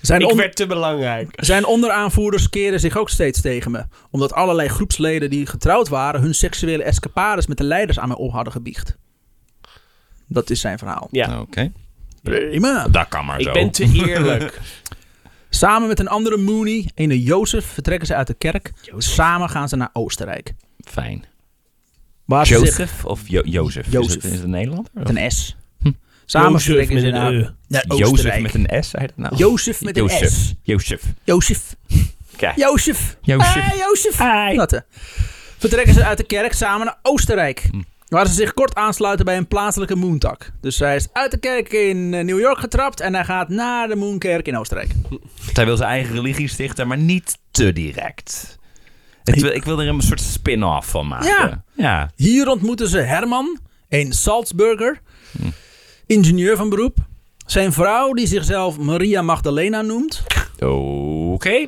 Speaker 1: Zijn,
Speaker 3: Ik
Speaker 1: on-
Speaker 3: werd te belangrijk.
Speaker 1: zijn onderaanvoerders keren zich ook steeds tegen me. Omdat allerlei groepsleden die getrouwd waren hun seksuele escapades met de leiders aan mij op hadden gebiecht. Dat is zijn verhaal.
Speaker 3: Ja.
Speaker 2: Oké.
Speaker 1: Prima.
Speaker 2: Dat kan maar zo.
Speaker 3: Ik ben te eerlijk.
Speaker 1: Samen met een andere Mooney, ene Jozef, vertrekken ze uit de kerk. Samen gaan ze naar Oostenrijk.
Speaker 2: Fijn.
Speaker 1: Waar ze zich-
Speaker 2: Jozef of Jo- Jozef? Is
Speaker 1: Jozef.
Speaker 2: het- Is het een Nederlander?
Speaker 1: Met een S.
Speaker 2: Hm.
Speaker 1: Samen
Speaker 3: Jozef
Speaker 1: vertrekken
Speaker 3: met
Speaker 1: ze
Speaker 3: een
Speaker 1: naar,
Speaker 3: E.
Speaker 1: naar
Speaker 2: eh, Jozef
Speaker 1: Oostenrijk.
Speaker 2: met een S, zei dat nou?
Speaker 1: Jozef met een
Speaker 2: Jozef.
Speaker 1: S.
Speaker 2: Jozef.
Speaker 1: Jozef.
Speaker 2: Kijk.
Speaker 1: Jozef.
Speaker 2: Jozef.
Speaker 1: Hey, Jozef. Dat, hè. Vertrekken ze uit de kerk samen naar Oostenrijk.
Speaker 2: Hm.
Speaker 1: Waar ze zich kort aansluiten bij een plaatselijke moontak. Dus hij is uit de kerk in eh, New York getrapt en hij gaat naar de moonkerk in Oostenrijk.
Speaker 2: Want Ah. Hij wil zijn eigen religie stichten, maar niet te direct. Het wil- ik wil er een soort spin-off van maken.
Speaker 1: Ja.
Speaker 2: ja.
Speaker 1: Hier ontmoeten ze Herman, een Salzburger,
Speaker 2: Hm.
Speaker 1: ingenieur van beroep. Zijn vrouw, die zichzelf Maria Magdalena noemt.
Speaker 2: Oké.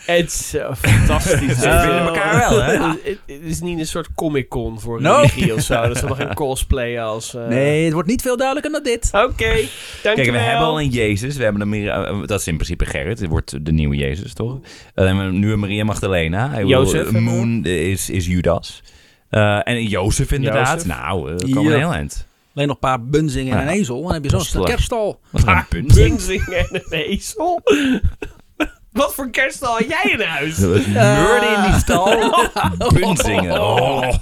Speaker 3: Het is eh, fantastisch. Oh.
Speaker 2: Ze vinden elkaar wel, hè?
Speaker 3: Het, het- het is niet een soort Comic-Con voor
Speaker 1: No.
Speaker 3: religie of zo. Dat ze nog geen cosplayen als... eh,
Speaker 1: Nee, het wordt niet veel duidelijker dan dit.
Speaker 3: Oké, dankjewel.
Speaker 2: Kijk, we hebben al een Jezus. We hebben een Maria, eh, dat is in principe Gerrit. Het wordt de nieuwe Jezus, toch? Eh, Dan hebben we nu een Maria Magdalena. Ik bedoel,
Speaker 3: Jozef.
Speaker 2: eh, Moon is, is Judas. Eh, en Jozef inderdaad.
Speaker 3: Jozef.
Speaker 2: Nou, eh, dat kan wel
Speaker 1: Ja.
Speaker 2: heel eind.
Speaker 1: Alleen nog een paar bunzingen en
Speaker 2: Ja.
Speaker 1: een ezel. En dan heb je zo'n
Speaker 2: Postelijk.
Speaker 1: kerststal.
Speaker 2: Wat een punt.
Speaker 3: Bunzing en een ezel. Wat voor kerststal had jij in huis?
Speaker 2: Meurden
Speaker 1: Eh.
Speaker 2: in die stal. Punzingen. Oh.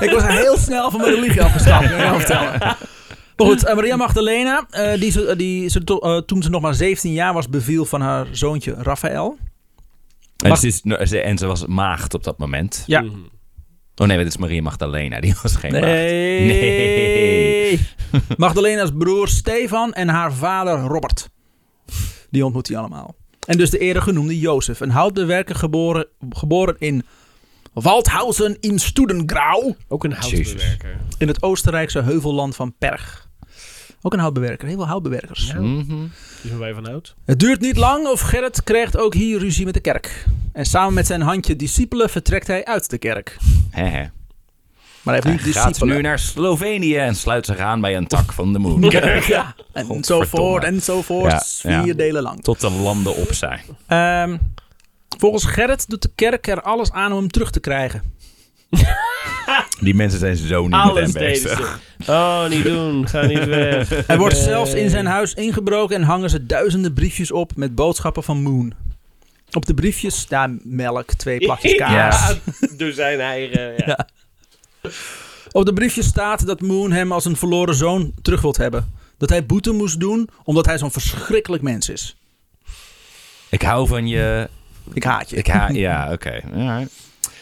Speaker 1: Ik was heel snel van mijn religie afgestapt, kan ik jou vertellen. Maar goed, eh, Maria Magdalena, eh, die, ze, eh, die ze to- eh, toen ze nog maar 17 jaar was, beviel van haar zoontje Raphaël.
Speaker 2: En,
Speaker 1: Mag-
Speaker 2: ze is, nou, ze- en ze was maagd op dat moment.
Speaker 1: Ja.
Speaker 3: Mhm.
Speaker 2: Oh nee, dat is Maria Magdalena. Die was geen maagd.
Speaker 1: Nee.
Speaker 2: Nee.
Speaker 1: Magdalena's broer Stefan en haar vader Robert. Die ontmoet hij allemaal. En dus de eerder genoemde Jozef. Een houtbewerker geboren, geboren in Waldhausen in Studengrau.
Speaker 3: Ook een houtbewerker.
Speaker 1: In het Oostenrijkse heuvelland van Perg. Ook een houtbewerker. Heel veel houtbewerkers.
Speaker 2: Mhm.
Speaker 3: Dus waar wij van hout.
Speaker 1: Het duurt niet lang of Gerrit krijgt ook hier ruzie met de kerk. En samen met zijn handje discipelen vertrekt hij uit de kerk.
Speaker 2: Hè, hè.
Speaker 1: Maar hij heeft nu
Speaker 2: Hij gaat
Speaker 1: discipelen.
Speaker 2: nu naar Slovenië en sluit zich aan bij een tak van de moon.
Speaker 1: ja, en zo voort en zo voort.
Speaker 2: Ja, ja.
Speaker 1: Vier delen lang.
Speaker 2: Tot de landen op zijn.
Speaker 1: Ehm, volgens Gerrit doet de kerk er alles aan om hem terug te krijgen.
Speaker 2: Die mensen zijn zo niet
Speaker 3: Alles
Speaker 2: met hem
Speaker 3: deden
Speaker 2: bezig.
Speaker 3: ze. Oh, niet doen. Ga niet weg.
Speaker 1: Er wordt
Speaker 3: Nee.
Speaker 1: zelfs in zijn huis ingebroken en hangen ze duizenden briefjes op met boodschappen van Moon. Op de briefjes staan melk, twee plakjes kaas.
Speaker 3: Ja, door zijn eigen... Ja.
Speaker 1: Op de briefjes staat dat Moon hem als een verloren zoon terug wilt hebben. Dat hij boete moest doen omdat hij zo'n verschrikkelijk mens is.
Speaker 2: Ik hou van je.
Speaker 1: Ik haat je.
Speaker 2: Ik ha ja, oké. alright.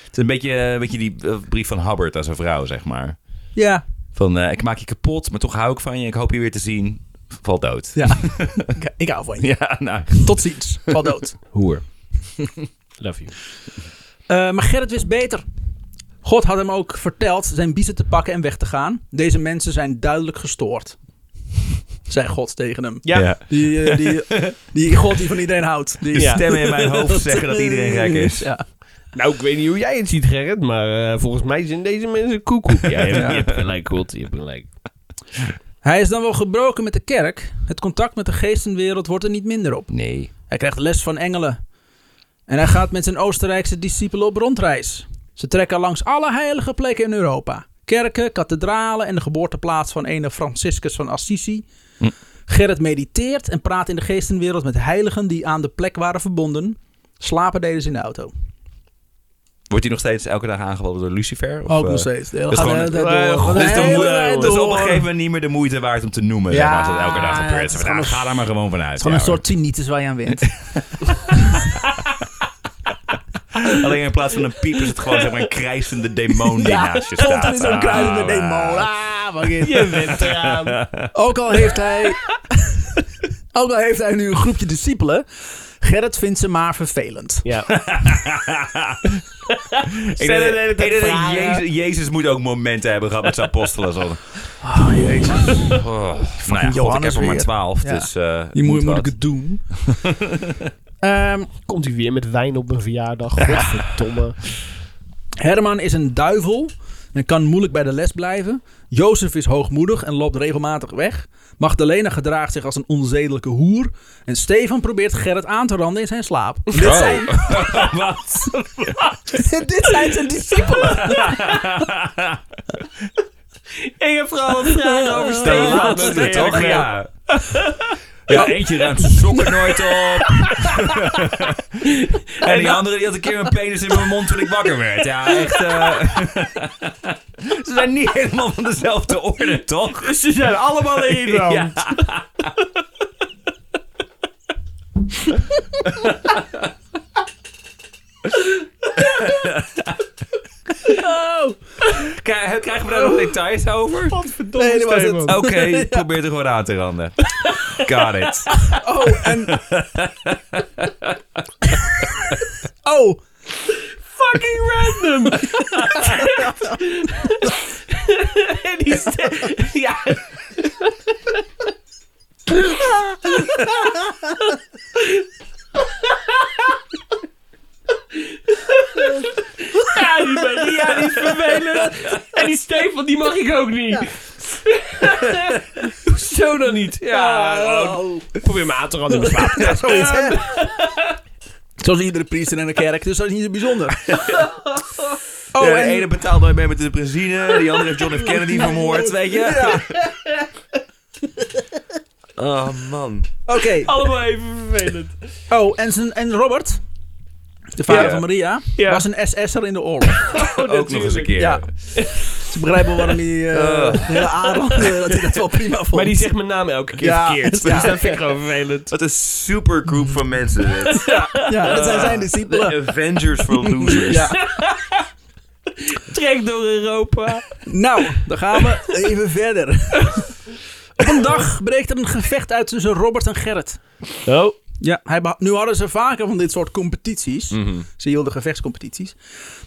Speaker 2: Het is een beetje, een beetje die eh, brief van Hubbard als een vrouw, zeg maar.
Speaker 1: Ja,
Speaker 2: Van eh, ik maak je kapot, maar toch hou ik van je. Ik hoop je weer te zien. Val dood.
Speaker 1: ja. ik, ik hou van je.
Speaker 2: Ja, nou.
Speaker 1: Tot ziens. Val dood.
Speaker 2: Hoer.
Speaker 3: Love you.
Speaker 1: Eh, maar Gerrit wist beter. God had hem ook verteld zijn biezen te pakken en weg te gaan. Deze mensen zijn duidelijk gestoord. Zei God tegen hem.
Speaker 3: Ja.
Speaker 1: Die, eh, die, die God die van iedereen houdt. Die,
Speaker 2: De stemmen in mijn hoofd zeggen dat iedereen gek is.
Speaker 1: Ja.
Speaker 3: Nou, ik weet niet hoe jij het ziet, Gerrit, maar eh, volgens mij zijn deze mensen koekoek. Ja, je,
Speaker 1: Ja.
Speaker 3: je hebt gelijk, God. Je hebt gelijk.
Speaker 1: Hij is dan wel gebroken met de kerk. Het contact met de geestenwereld wordt er niet minder op.
Speaker 2: Nee.
Speaker 1: Hij krijgt les van engelen. En hij gaat met zijn Oostenrijkse discipelen op rondreis. Ze trekken langs alle heilige plekken in Europa. Kerken, kathedralen en de geboorteplaats van ene Franciscus van Assisi.
Speaker 2: Hm.
Speaker 1: Gerrit mediteert en praat in de geestenwereld met heiligen die aan de plek waren verbonden. Slapen deden ze in de auto.
Speaker 2: Wordt hij nog steeds elke dag aangevallen door Lucifer? Of, eh,
Speaker 1: steeds. De hele
Speaker 2: dat is gewoon-
Speaker 1: tijd door.
Speaker 3: Eh,
Speaker 1: Gewoon
Speaker 3: goed,
Speaker 1: de
Speaker 2: Dus, dan
Speaker 1: hele
Speaker 2: moet-
Speaker 1: tijd
Speaker 2: dus op
Speaker 1: door.
Speaker 2: een gegeven moment niet meer de moeite waard om te noemen. Ja, zeg maar, als dat elke dag
Speaker 1: het is
Speaker 2: gebeurt. Van,
Speaker 1: gewoon
Speaker 2: nou,
Speaker 1: een-
Speaker 2: ga daar maar gewoon vanuit.
Speaker 1: Het is gewoon een
Speaker 2: ja,
Speaker 1: soort tinnitus waar je aan wint.
Speaker 2: hoor. Alleen in plaats van een piep is het gewoon zeg maar, een krijsende demon die naast je staat.
Speaker 1: Komt er in zo'n kruidende
Speaker 2: Ah,
Speaker 1: demon. Ah, fuck it.
Speaker 3: Je bent eraan.
Speaker 1: Ook al heeft hij. ook al heeft hij nu een groepje discipelen. Gerrit vindt ze maar vervelend.
Speaker 3: Ja.
Speaker 2: Ik denk,
Speaker 3: Stellen de hele
Speaker 2: ik
Speaker 3: tijd
Speaker 2: denk dat
Speaker 3: vragen.
Speaker 2: Jezus, Jezus moet ook momenten hebben gehad met zijn apostelen. Zo. van,
Speaker 1: Oh jezus.
Speaker 2: Oh, nou ja, god, ik heb
Speaker 1: Johannes
Speaker 2: er maar
Speaker 1: weer.
Speaker 2: twaalf.
Speaker 1: Ja.
Speaker 2: Dus, eh,
Speaker 1: Die moet, moet
Speaker 2: wat.
Speaker 1: ik het doen. Ehm,
Speaker 3: Komt hij weer met wijn op mijn verjaardag? Godverdomme.
Speaker 1: Herman is een duivel. En kan moeilijk bij de les blijven. Jozef is hoogmoedig en loopt regelmatig weg. Magdalena gedraagt zich als een onzedelijke hoer. En Stefan probeert Gerrit aan te randen in zijn slaap. Dit zijn,
Speaker 2: Oh. Wat?
Speaker 1: dit zijn zijn discipelen.
Speaker 3: Ik heb vooral een vraag over
Speaker 2: De
Speaker 1: Ja,
Speaker 2: laatste,
Speaker 1: dat is
Speaker 2: toch?
Speaker 1: eerlijk,
Speaker 2: Ja. Ja, eentje ruimt zijn sokken nooit op. en die andere die had een keer een penis in mijn mond toen ik wakker werd. Ja, echt. eh. Ze zijn niet helemaal van dezelfde orde, toch?
Speaker 3: Dus Ze zijn allemaal in Nederland.
Speaker 2: Ja. Krijg- Krijgen we daar nog details over?
Speaker 3: Godverdomme.
Speaker 1: Nee, dat was het.
Speaker 3: Stefan.
Speaker 2: Oké, probeer er gewoon aan te randen. Got it.
Speaker 1: Oh, en... oh,
Speaker 3: fucking random. en die ste- ja. vervelend. En die Stefan, die mag ik ook niet. Zo dan niet. Ja, eh,
Speaker 1: Oh.
Speaker 3: probeer me aan te randen.
Speaker 1: Ja, zoiets, hè? Zoals iedere priester in de kerk, dus dat is niet zo bijzonder.
Speaker 2: Oh,
Speaker 1: Oh,
Speaker 2: de
Speaker 1: en-
Speaker 2: ene betaalt nooit mee met de benzine. Die andere heeft John F. Kennedy vermoord. Weet je? Oh, man.
Speaker 1: Oké.
Speaker 3: Allemaal even vervelend.
Speaker 1: Oh, en, zijn, en Robert, de vader
Speaker 2: Ja.
Speaker 1: van Maria,
Speaker 3: Ja.
Speaker 1: was een SS'er in de oorlog.
Speaker 2: Ook nog eens een keer.
Speaker 1: Oh, Ja. Ze begrijpen waarom hij eh, de hele aanranden, dat hij dat wel prima vond.
Speaker 3: Maar die zegt mijn naam elke keer
Speaker 1: Ja,
Speaker 3: verkeerd.
Speaker 1: ja.
Speaker 3: Dus dat vind ik gewoon vervelend.
Speaker 2: Wat een supergroep van mensen. dit.
Speaker 1: ja, dat zijn zijn
Speaker 2: De
Speaker 1: discipelen.
Speaker 2: Avengers for Losers.
Speaker 1: Ja.
Speaker 3: Trek door Europa.
Speaker 1: Nou, dan gaan we even verder. Op een dag breekt er een gevecht uit tussen Robert en Gerrit.
Speaker 3: Oh.
Speaker 1: Ja, hij beha- nu hadden ze vaker van dit soort competities.
Speaker 2: Mhm.
Speaker 1: Ze hielden gevechtscompetities.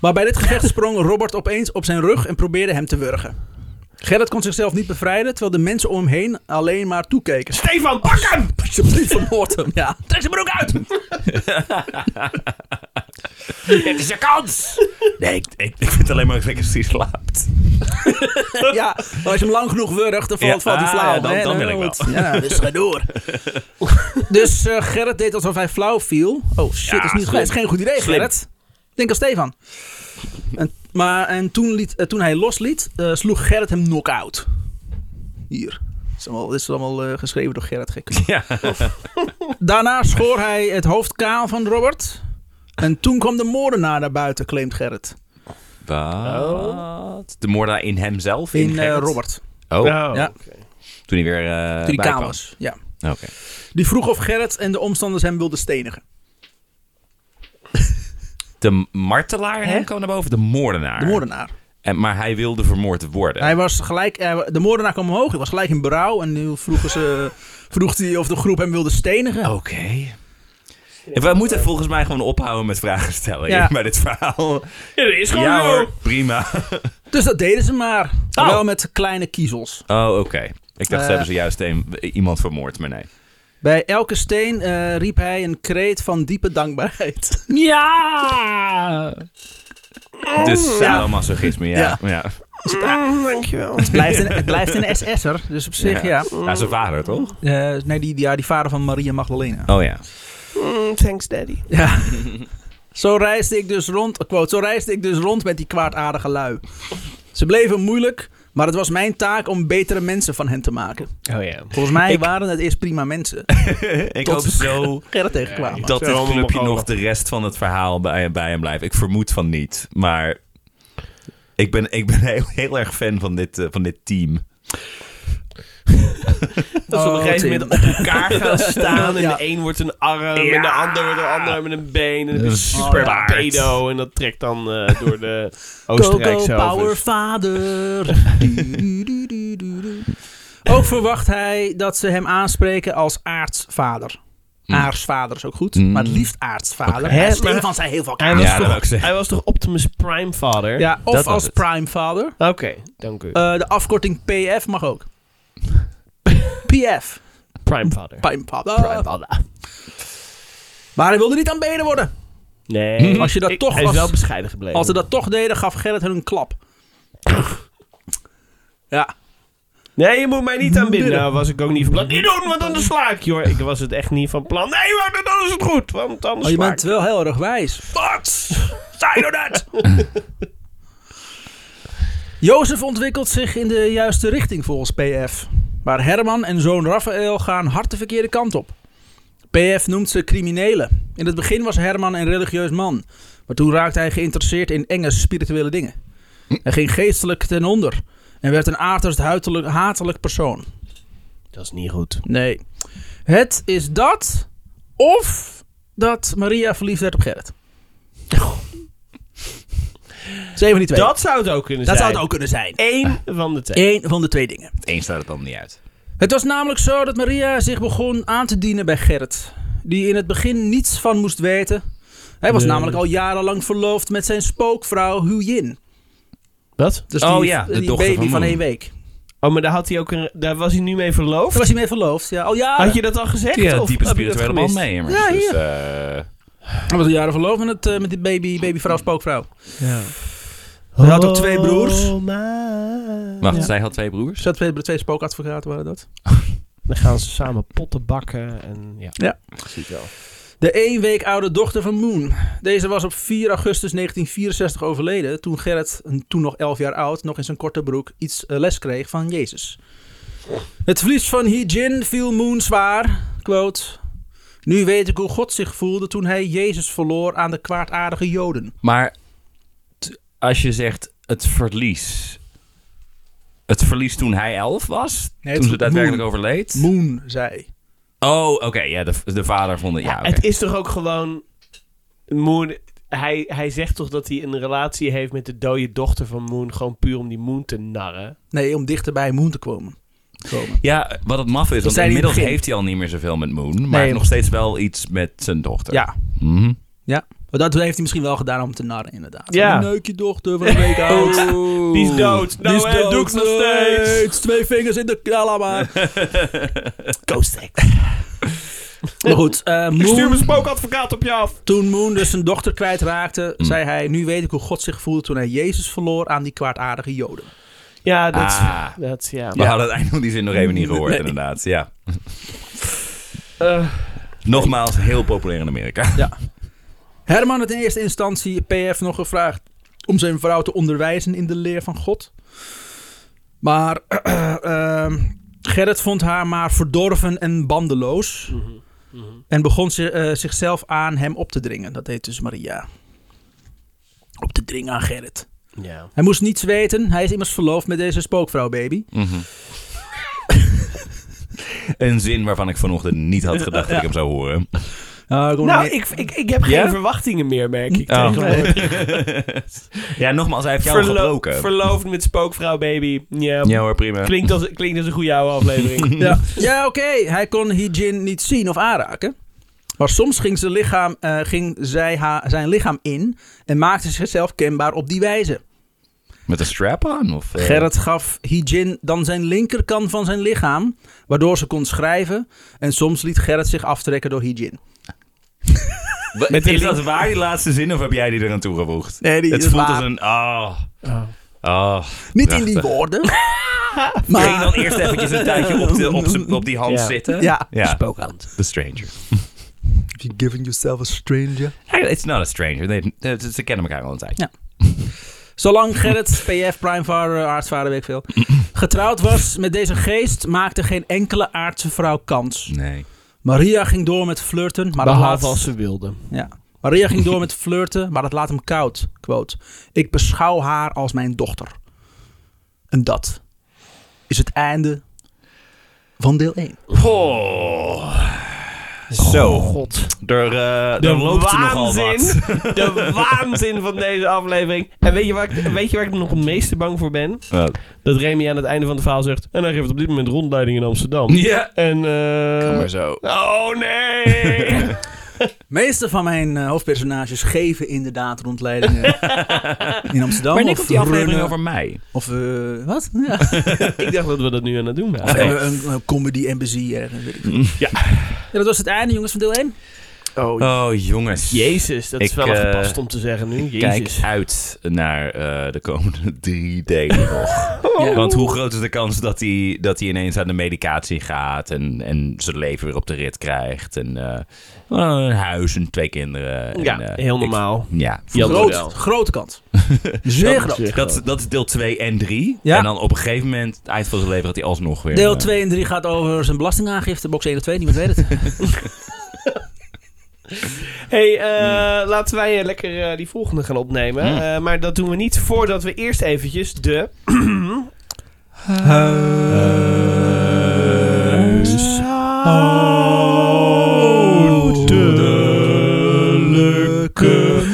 Speaker 1: Maar bij dit gevecht sprong Robert opeens op zijn rug en probeerde hem te wurgen. Gerrit kon zichzelf niet bevrijden, terwijl de mensen om hem heen alleen maar toekeken.
Speaker 3: Stefan, pak hem!
Speaker 1: Alsjeblieft, vermoord hem, ja.
Speaker 3: Trek zijn broek uit! Dit is je kans!
Speaker 2: Nee, ik, ik, ik vind alleen maar dat ik hij slaapt.
Speaker 1: ja. maar Als je hem lang genoeg wurgt, dan valt,
Speaker 2: Ja,
Speaker 1: valt hij
Speaker 2: ah,
Speaker 1: flauw.
Speaker 2: ja, dan-
Speaker 1: hè,
Speaker 2: dan wil ik wel.
Speaker 1: wordt- Ja, dus ga door. dus eh, Gerrit deed alsof hij flauw viel. Oh shit,
Speaker 2: Ja,
Speaker 1: is, niet,
Speaker 2: slim.
Speaker 1: is geen goed idee,
Speaker 2: Slim.
Speaker 1: Gerrit. Denk aan Stefan. En, maar en toen, liet, eh, toen hij losliet, eh, sloeg Gerrit hem knock-out. Hier. Dit is allemaal, dit is allemaal eh, geschreven door Gerrit Gek.
Speaker 2: Ja.
Speaker 1: Daarna schoor hij het hoofd kaal van Robert. En toen kwam de moordenaar naar buiten, claimt Gerrit.
Speaker 2: Wat? De moordenaar in hemzelf?
Speaker 1: In eh,
Speaker 2: Gerrit?
Speaker 1: Robert.
Speaker 2: Oh,
Speaker 1: Ja.
Speaker 2: toen hij weer
Speaker 1: Toen
Speaker 2: eh bij
Speaker 1: hij kaal
Speaker 2: kwam.
Speaker 1: was. Ja.
Speaker 2: Oké.
Speaker 1: Die vroeg of Gerrit en de omstanders hem wilden stenigen.
Speaker 2: De martelaar hè, kwam naar boven. De moordenaar.
Speaker 1: De moordenaar.
Speaker 2: En, maar hij wilde vermoord worden.
Speaker 1: Hij was gelijk, hij- de moordenaar kwam omhoog, hij was gelijk in berouw. En nu vroegen ze, vroeg hij of de groep hem wilde stenigen.
Speaker 2: Oké. We moeten volgens mij gewoon ophouden met vragen stellen
Speaker 1: Ja.
Speaker 2: ja. bij dit verhaal.
Speaker 3: Ja, dat is gewoon
Speaker 2: Ja
Speaker 3: zo.
Speaker 2: hoor, prima.
Speaker 1: Dus dat deden ze maar.
Speaker 2: Oh.
Speaker 1: Wel met kleine kiezels.
Speaker 2: Oh, oké. Ik dacht,
Speaker 1: Eh.
Speaker 2: ze hebben ze juist een, iemand vermoord, maar nee.
Speaker 1: Bij elke steen eh, riep hij een kreet van diepe dankbaarheid.
Speaker 3: Ja!
Speaker 2: Dus sadomasochisme, ja.
Speaker 1: Oh, Ja.
Speaker 2: ja. ja.
Speaker 3: dankjewel.
Speaker 1: Het blijft een, het blijft een SS'er, dus op zich ja.
Speaker 2: Nou, zijn vader, toch?
Speaker 1: Eh, nee, die, die- ja, die vader van Maria Magdalena.
Speaker 2: Oh ja.
Speaker 3: Mm, thanks daddy.
Speaker 1: Ja. Zo reisde ik dus rond, quote, zo reisde ik dus rond met die kwaadaardige lui. Ze bleven moeilijk, maar het was mijn taak om betere mensen van hen te maken.
Speaker 3: Oh ja.
Speaker 1: Volgens mij waren het eerst prima mensen.
Speaker 2: Ik
Speaker 1: Tot-
Speaker 2: hoop zo
Speaker 1: Gerrit tegenkwamen.
Speaker 2: dat
Speaker 3: zou
Speaker 2: dit
Speaker 3: allemaal
Speaker 2: clubje
Speaker 3: mogen.
Speaker 2: nog de rest van het verhaal bij, bij hem blijft. Ik vermoed van niet, maar ik ben, ik ben heel, heel erg fan van dit, eh, van dit team.
Speaker 3: Dat ze op een
Speaker 1: Oh, Tim.
Speaker 3: gegeven moment op elkaar gaan staan. En
Speaker 1: Ja.
Speaker 3: de een wordt een arm. En de
Speaker 2: Ja.
Speaker 3: ander wordt een ander met een been. En dan
Speaker 2: Een
Speaker 3: ben je super
Speaker 1: paard.
Speaker 3: pedo. En dat trekt dan eh, door de
Speaker 1: Coco
Speaker 3: Oostenrijkse
Speaker 1: Power
Speaker 3: ovens.
Speaker 1: Vader. Du- du- du- du- du. Ook verwacht hij dat ze hem aanspreken als aartsvader.
Speaker 2: Mm.
Speaker 1: Aarsvader is ook goed,
Speaker 2: Mm.
Speaker 1: maar het liefst aartsvader.
Speaker 2: Oké.
Speaker 1: Maar
Speaker 3: Hè,
Speaker 1: Stefan zei heel veel
Speaker 3: Hij
Speaker 1: aarts.
Speaker 3: was,
Speaker 2: Ja, dat
Speaker 3: toch,
Speaker 2: wou ik zeggen.
Speaker 3: hij was toch Optimus Prime vader?
Speaker 1: Ja, of
Speaker 2: dat was
Speaker 1: als
Speaker 2: het.
Speaker 1: primevader.
Speaker 3: Oké, dank u.
Speaker 1: Eh, de afkorting PF mag ook. PF.
Speaker 3: prime vader.
Speaker 1: Primevader.
Speaker 3: Prime vader.
Speaker 1: Maar hij wilde niet aanbeden worden.
Speaker 3: Nee.
Speaker 1: Hmm. Als je dat
Speaker 3: ik-
Speaker 1: toch
Speaker 3: Hij
Speaker 1: was-
Speaker 3: is wel bescheiden gebleven.
Speaker 1: Als ze dat toch deden, gaf Gerrit hun een klap. Ja.
Speaker 3: Nee, je moet mij niet aanbinden.
Speaker 1: Bidden.
Speaker 3: Nou, was ik ook niet van plan. Niet doen, want anders sla ik je hoor. Ik was het echt niet van plan. Nee, maar dan is het goed, want anders
Speaker 1: Oh, je
Speaker 3: sla
Speaker 1: bent
Speaker 3: ik
Speaker 1: wel heel erg wijs.
Speaker 3: Wat? Zijn er dat?
Speaker 1: Jozef ontwikkelt zich in de juiste richting volgens PF. Maar Herman en zoon Raphaël gaan hard de verkeerde kant op. PF noemt ze criminelen. In het begin was Herman een religieus man. Maar toen raakte hij geïnteresseerd in enge spirituele dingen. Hij ging geestelijk ten onder. En werd een uiterst huitelijk- hatelijk persoon.
Speaker 3: Dat is niet goed.
Speaker 1: Nee. Het is dat of dat Maria verliefd werd op Gerrit. Zeven die twee.
Speaker 3: Dat zou het ook kunnen
Speaker 1: Dat
Speaker 3: zijn.
Speaker 1: zou het ook kunnen zijn.
Speaker 3: Eén van de twee.
Speaker 1: Eén van de twee dingen.
Speaker 2: Eens staat het dan niet uit.
Speaker 1: Het was namelijk zo dat Maria zich begon aan te dienen bij Gerrit. Die in het begin niets van moest weten. Hij was
Speaker 3: Nee.
Speaker 1: namelijk al jarenlang verloofd met zijn spookvrouw Hu Yin.
Speaker 3: Wat?
Speaker 1: Dus
Speaker 2: Oh
Speaker 1: die,
Speaker 2: ja, de
Speaker 1: die
Speaker 2: dochter
Speaker 1: baby
Speaker 2: van
Speaker 1: van
Speaker 2: Moon.
Speaker 1: één week.
Speaker 3: Oh, maar daar, had hij ook een, daar was hij nu mee
Speaker 1: Daar
Speaker 3: verloofd?
Speaker 1: was hij mee verloofd, ja. Al jaren.
Speaker 3: Had je dat al gezegd?
Speaker 2: Die had
Speaker 3: of
Speaker 2: diepe
Speaker 3: heb je dat
Speaker 2: spirituele band
Speaker 3: gemist?
Speaker 2: mee, immers.
Speaker 1: Ja,
Speaker 2: dus,
Speaker 1: hier.
Speaker 2: eh,
Speaker 1: Hij was al jaren verloofd met, het, eh, met die baby, babyvrouw spookvrouw. Hij had ook twee broers.
Speaker 3: Oh, maar-
Speaker 2: Wacht,
Speaker 1: Ja.
Speaker 2: zij had twee broers?
Speaker 1: Zat twee, twee spookadvocaten waren dat.
Speaker 3: Dan gaan ze samen potten bakken en ja.
Speaker 1: Ja.
Speaker 3: Zie ik wel.
Speaker 1: De één week oude dochter van Moon. Deze was op 4 augustus 1964 overleden toen Gerrit, een- toen nog 11 jaar oud, nog in zijn korte broek iets eh, les kreeg van Jezus. Het verlies van Hee-Jin viel Moon zwaar. Quote. Nu weet ik hoe God zich voelde toen hij Jezus verloor aan de kwaadaardige Joden.
Speaker 2: Maar t- als je zegt het verlies. Het verlies toen hij elf was?
Speaker 1: Nee, het
Speaker 2: toen ze
Speaker 1: moet-
Speaker 2: daadwerkelijk
Speaker 1: moe.
Speaker 2: overleed?
Speaker 1: Moon zei.
Speaker 2: Oh, oké. ja, de, de vader vond het... Ja,
Speaker 3: Ja,
Speaker 2: oké.
Speaker 3: Het is toch ook gewoon... Moon, hij, hij zegt toch dat hij een relatie heeft met de dode dochter van Moon... gewoon puur om die Moon te narren?
Speaker 1: Nee, om dichter bij Moon te komen. komen.
Speaker 2: ja, wat het maf is,
Speaker 1: zei hij
Speaker 2: want
Speaker 1: in het
Speaker 2: inmiddels
Speaker 1: begin.
Speaker 2: heeft hij al niet meer zoveel met Moon. Maar hij heeft
Speaker 1: maar-
Speaker 2: nog steeds wel iets met zijn dochter.
Speaker 1: Ja,
Speaker 2: Mhm.
Speaker 1: maar dat heeft hij misschien wel gedaan om te narren inderdaad.
Speaker 3: Ja.
Speaker 1: Neuk je dochter van een week oud.
Speaker 2: Oeh.
Speaker 3: Die is dood. Nou,
Speaker 1: Die is
Speaker 3: hè,
Speaker 1: dood.
Speaker 3: doe ik nog steeds.
Speaker 1: Twee vingers in de knal maar. Ghost Maar goed, eh,
Speaker 3: Ik stuur
Speaker 1: Moon,
Speaker 3: mijn spookadvocaat op je af.
Speaker 1: toen Moon dus zijn dochter kwijtraakte,
Speaker 3: Mm.
Speaker 1: zei hij... Nu weet ik hoe God zich voelde toen hij Jezus verloor aan die kwaadaardige joden.
Speaker 3: Ja, dat,
Speaker 2: Ah.
Speaker 3: dat ja.
Speaker 2: We hadden het einde van die zin nog even niet gehoord, inderdaad. Ja.
Speaker 3: Eh,
Speaker 2: Nogmaals, heel populair in Amerika.
Speaker 1: Herman had in eerste instantie PF nog gevraagd om zijn vrouw te onderwijzen in de leer van God. Maar ehm, Gerrit vond haar maar verdorven en bandeloos.
Speaker 3: mhm, mhm.
Speaker 1: En begon zi- eh, zichzelf aan hem op te dringen. Dat deed dus Maria. Op te dringen aan Gerrit.
Speaker 3: Ja.
Speaker 1: Hij moest niets weten. Hij is immers verloofd met deze spookvrouw, baby.
Speaker 2: Mhm. een zin waarvan ik vanochtend niet had gedacht dat ik hem zou horen.
Speaker 1: Ah,
Speaker 3: Nou, ik, ik, ik heb geen
Speaker 2: Ja?
Speaker 3: verwachtingen meer, merk ik.
Speaker 2: Oh.
Speaker 3: tegenwoordig.
Speaker 2: ja, nogmaals, hij heeft jou
Speaker 3: Verlo-
Speaker 2: gebroken.
Speaker 3: Verloofd met spookvrouw, baby. Ja.
Speaker 2: ja hoor, prima.
Speaker 3: Klinkt, als, klinkt als een goede oude aflevering.
Speaker 1: ja, ja oké. Hij kon Hijin niet zien of aanraken. Maar soms ging, zijn, lichaam, eh, ging zij haar, zijn lichaam in en maakte zichzelf kenbaar op die wijze.
Speaker 2: Met een strap aan? Of, eh?
Speaker 1: Gerrit gaf Hijin dan zijn linkerkant van zijn lichaam, waardoor ze kon schrijven. En soms liet Gerrit zich aftrekken door Hijin.
Speaker 2: Wa-
Speaker 3: Met de
Speaker 2: is
Speaker 3: link-
Speaker 2: dat waar, die laatste zin, of heb jij die eraan toegevoegd?
Speaker 1: Nee, die
Speaker 2: het
Speaker 1: is
Speaker 2: voelt
Speaker 1: waar.
Speaker 2: als een... ah ah.
Speaker 1: Niet in die
Speaker 2: Prachtig.
Speaker 1: woorden.
Speaker 2: Maar... Ging dan eerst eventjes een tijdje op, de, op, z'n- op die hand
Speaker 3: Ja.
Speaker 2: zitten?
Speaker 1: Ja,
Speaker 2: Ja.
Speaker 1: spookhand.
Speaker 2: The stranger.
Speaker 1: If you're giving yourself a stranger.
Speaker 2: Eigenlijk, It's not a stranger. They- ze, ze kennen elkaar al een tijdje.
Speaker 1: Zolang Gerrit, PF, primevader, aartsvader, weet ik veel, getrouwd was met deze geest, maakte geen enkele aardse vrouw kans.
Speaker 2: Nee.
Speaker 1: Maria ging door met flirten, maar dat laat...
Speaker 3: Behalve als ze wilde.
Speaker 1: Ja. Maria ging door met flirten, maar dat laat hem koud. Quote. Ik beschouw haar als mijn dochter. En dat is het einde van deel 1.
Speaker 2: Oh. Zo.
Speaker 3: God.
Speaker 2: Er, eh,
Speaker 3: De
Speaker 2: er loopt er nogal wat.
Speaker 3: waanzin. De waanzin van deze aflevering. En weet je, waar ik, weet je waar ik nog het meeste bang voor ben? Dat Remy aan het einde van het verhaal zegt... En hij geeft op dit moment rondleiding in Amsterdam.
Speaker 2: Ja.
Speaker 3: En... eh,
Speaker 2: Kom maar zo.
Speaker 3: Oh nee!
Speaker 1: meeste van mijn eh, hoofdpersonages geven inderdaad rondleidingen in Amsterdam.
Speaker 2: Maar
Speaker 1: of
Speaker 2: Nick, op die aflevering
Speaker 1: runnen.
Speaker 2: over mij.
Speaker 1: Of eh, wat? Ja.
Speaker 3: ik dacht dat we dat nu aan het doen
Speaker 1: Of
Speaker 3: waren.
Speaker 2: Nee.
Speaker 1: hebben we een, een comedy embassy ergens. Weet ik. veel.
Speaker 2: Ja.
Speaker 1: Ja, dat was het einde, jongens, van deel 1.
Speaker 3: Oh,
Speaker 2: Oh, jongens.
Speaker 3: Jezus, dat is
Speaker 2: Ik,
Speaker 3: wel
Speaker 2: eh,
Speaker 3: gepast om te zeggen nu.
Speaker 2: Kijk
Speaker 3: Jezus.
Speaker 2: uit naar eh, de komende drie delen nog.
Speaker 1: Ja.
Speaker 2: Want hoe groot is de kans dat hij, dat hij ineens aan de medicatie gaat en, en zijn leven weer op de rit krijgt? En eh, een huis en twee kinderen. En,
Speaker 3: ja,
Speaker 2: eh,
Speaker 3: heel
Speaker 2: ik-
Speaker 3: normaal.
Speaker 2: ja,
Speaker 3: Jan
Speaker 1: Groot,
Speaker 3: Model.
Speaker 1: grote kant. Zeer groot.
Speaker 2: dat, dat is deel 2 en 3.
Speaker 1: Ja.
Speaker 2: En dan op een gegeven moment, het eind van zijn leven, dat hij alsnog weer...
Speaker 1: Deel
Speaker 2: eh,
Speaker 1: 2 en 3 gaat over zijn belastingaangifte, box 1 en 2, niemand weet het.
Speaker 3: hey, eh, laten wij eh, lekker eh, die volgende gaan opnemen.
Speaker 2: Hmm.
Speaker 3: Eh, maar dat doen we niet voordat we eerst eventjes de...
Speaker 1: Huishoudelijke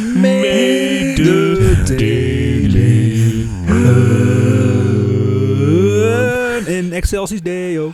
Speaker 1: mededelingen. In Excelsis Deo.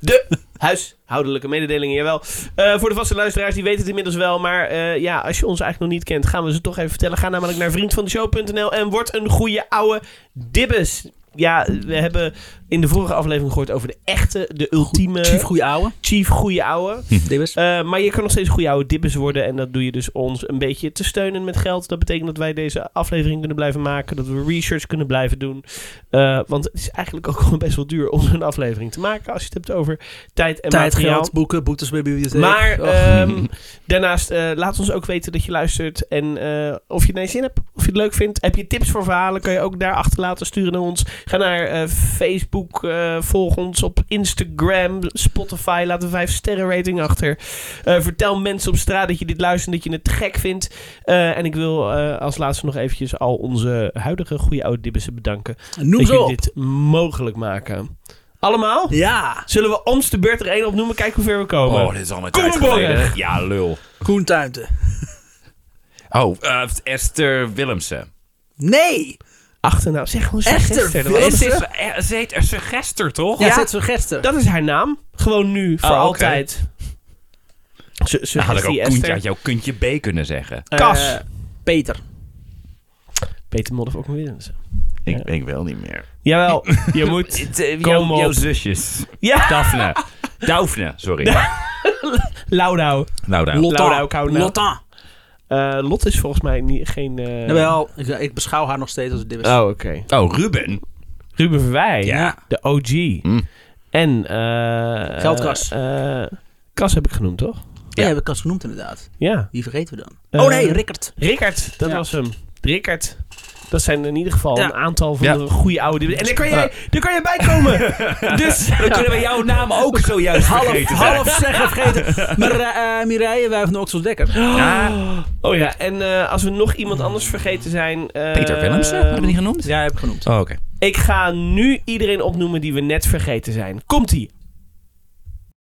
Speaker 3: De huishoudelijke mededelingen, jawel. Eh, voor de vaste luisteraars, die weten het inmiddels wel. Maar eh, ja, als je ons eigenlijk nog niet kent, gaan we ze toch even vertellen. Ga namelijk naar vriendvandeshow.nl en word een goede oude dibbes. Ja, we hebben in de vorige aflevering gehoord over de echte, de ultieme
Speaker 1: Chief
Speaker 3: chief,
Speaker 1: goeie ouwe.
Speaker 3: goeie ouwe.
Speaker 1: Dibbers.
Speaker 3: Eh, maar je kan nog steeds goede oude dibbes worden. En dat doe je dus ons een beetje te steunen met geld. Dat betekent dat wij deze aflevering kunnen blijven maken. Dat we research kunnen blijven doen. Eh, want het is eigenlijk ook gewoon best wel duur om een aflevering te maken. Als je het hebt over tijd en
Speaker 1: Tijd,
Speaker 3: materiaal.
Speaker 1: geld, boeken, boetes bij bibliotheek.
Speaker 3: Maar
Speaker 1: Och.
Speaker 3: ehm, daarnaast, eh, laat ons ook weten dat je luistert. En eh, of je er zin hebt, of je het leuk vindt. Heb je tips voor verhalen, kan je ook daar achterlaten. Sturen naar ons. Ga naar eh, Facebook, eh, volg ons op Instagram, Spotify. Laat een 5 sterren rating achter. Eh, vertel mensen op straat dat je dit luistert, dat je het te gek vindt. Eh, en ik wil eh, als laatste nog eventjes al onze huidige goede oude dibbissen bedanken.
Speaker 1: Noem
Speaker 3: dat
Speaker 1: ze
Speaker 3: jullie
Speaker 1: op.
Speaker 3: dit mogelijk maken. Allemaal?
Speaker 1: Ja,
Speaker 3: Zullen we ons de beurt er één opnoemen? Kijken hoe ver we komen.
Speaker 2: Oh, dit is allemaal
Speaker 3: Kom
Speaker 2: tijd
Speaker 3: maar,
Speaker 2: geleden.
Speaker 3: Borg.
Speaker 2: Ja, lul.
Speaker 1: Koen Tuinten.
Speaker 2: Oh, eh, Esther Willemsen.
Speaker 1: Nee!
Speaker 3: Achternaam, zeg gewoon
Speaker 1: Echter
Speaker 3: Suggester. Dat,
Speaker 1: Willemsen?
Speaker 2: Het
Speaker 3: is-
Speaker 2: is- eh, Ze heet er Suggester, toch?
Speaker 1: Ja,
Speaker 3: Ja.
Speaker 1: zet zo'n gester.
Speaker 3: dat is haar naam. Gewoon nu, voor
Speaker 2: Oh, oké.
Speaker 3: altijd. Su-
Speaker 2: Nou, had ik
Speaker 3: Suggester
Speaker 2: ook
Speaker 3: Esther.
Speaker 2: Koentje, had je ook Kuntje B kunnen zeggen.
Speaker 3: Eh,
Speaker 1: Kas. Peter.
Speaker 3: Peter Modder ook weer. eens.
Speaker 2: Ik,
Speaker 3: Ja.
Speaker 2: ik wil niet meer.
Speaker 3: Jawel, je moet.
Speaker 2: Het, eh,
Speaker 3: Kom
Speaker 2: jouw,
Speaker 3: op.
Speaker 2: jouw zusjes.
Speaker 3: Ja,
Speaker 2: Daphne. Daphne, sorry.
Speaker 3: Laudau.
Speaker 2: Nou, daar.
Speaker 1: Lotta.
Speaker 3: Laura ook houden.
Speaker 1: Lotta.
Speaker 3: Eh, Lot is volgens mij niet, geen... eh,
Speaker 1: Jawel, ik, ik beschouw haar nog steeds als Dibbers.
Speaker 3: Oh, oké.
Speaker 2: Oh, Ruben.
Speaker 3: Ruben Verwij.
Speaker 1: Ja.
Speaker 3: De OG.
Speaker 2: Hm.
Speaker 3: En... eh
Speaker 1: Geldkas.
Speaker 3: eh, eh, Kas heb ik genoemd, toch?
Speaker 1: Ja, heb ik Kas genoemd inderdaad.
Speaker 3: Ja.
Speaker 1: Die vergeten we dan.
Speaker 3: Eh,
Speaker 1: oh nee, Rickert.
Speaker 3: Rickard, dat
Speaker 1: Ja.
Speaker 3: was hem. Rickard. Dat zijn in ieder geval
Speaker 1: Ja.
Speaker 3: een aantal van
Speaker 2: Ja.
Speaker 3: de goede oude... En daar kan, jij, daar kan je bij komen. dus
Speaker 2: Dan kunnen we jouw naam ook zojuist
Speaker 1: Half,
Speaker 2: vergeten
Speaker 1: half zeggen vergeten. Maar eh Mireille, wij van Oxel Dekker.
Speaker 2: Ja.
Speaker 3: Oh ja, en eh, als we nog iemand anders vergeten zijn... eh,
Speaker 2: Peter Willemsen? Hebben we die genoemd?
Speaker 1: Jij hebt genoemd.
Speaker 2: Oh, oké.
Speaker 3: Ik ga nu iedereen opnoemen die we net vergeten zijn. Komt-ie.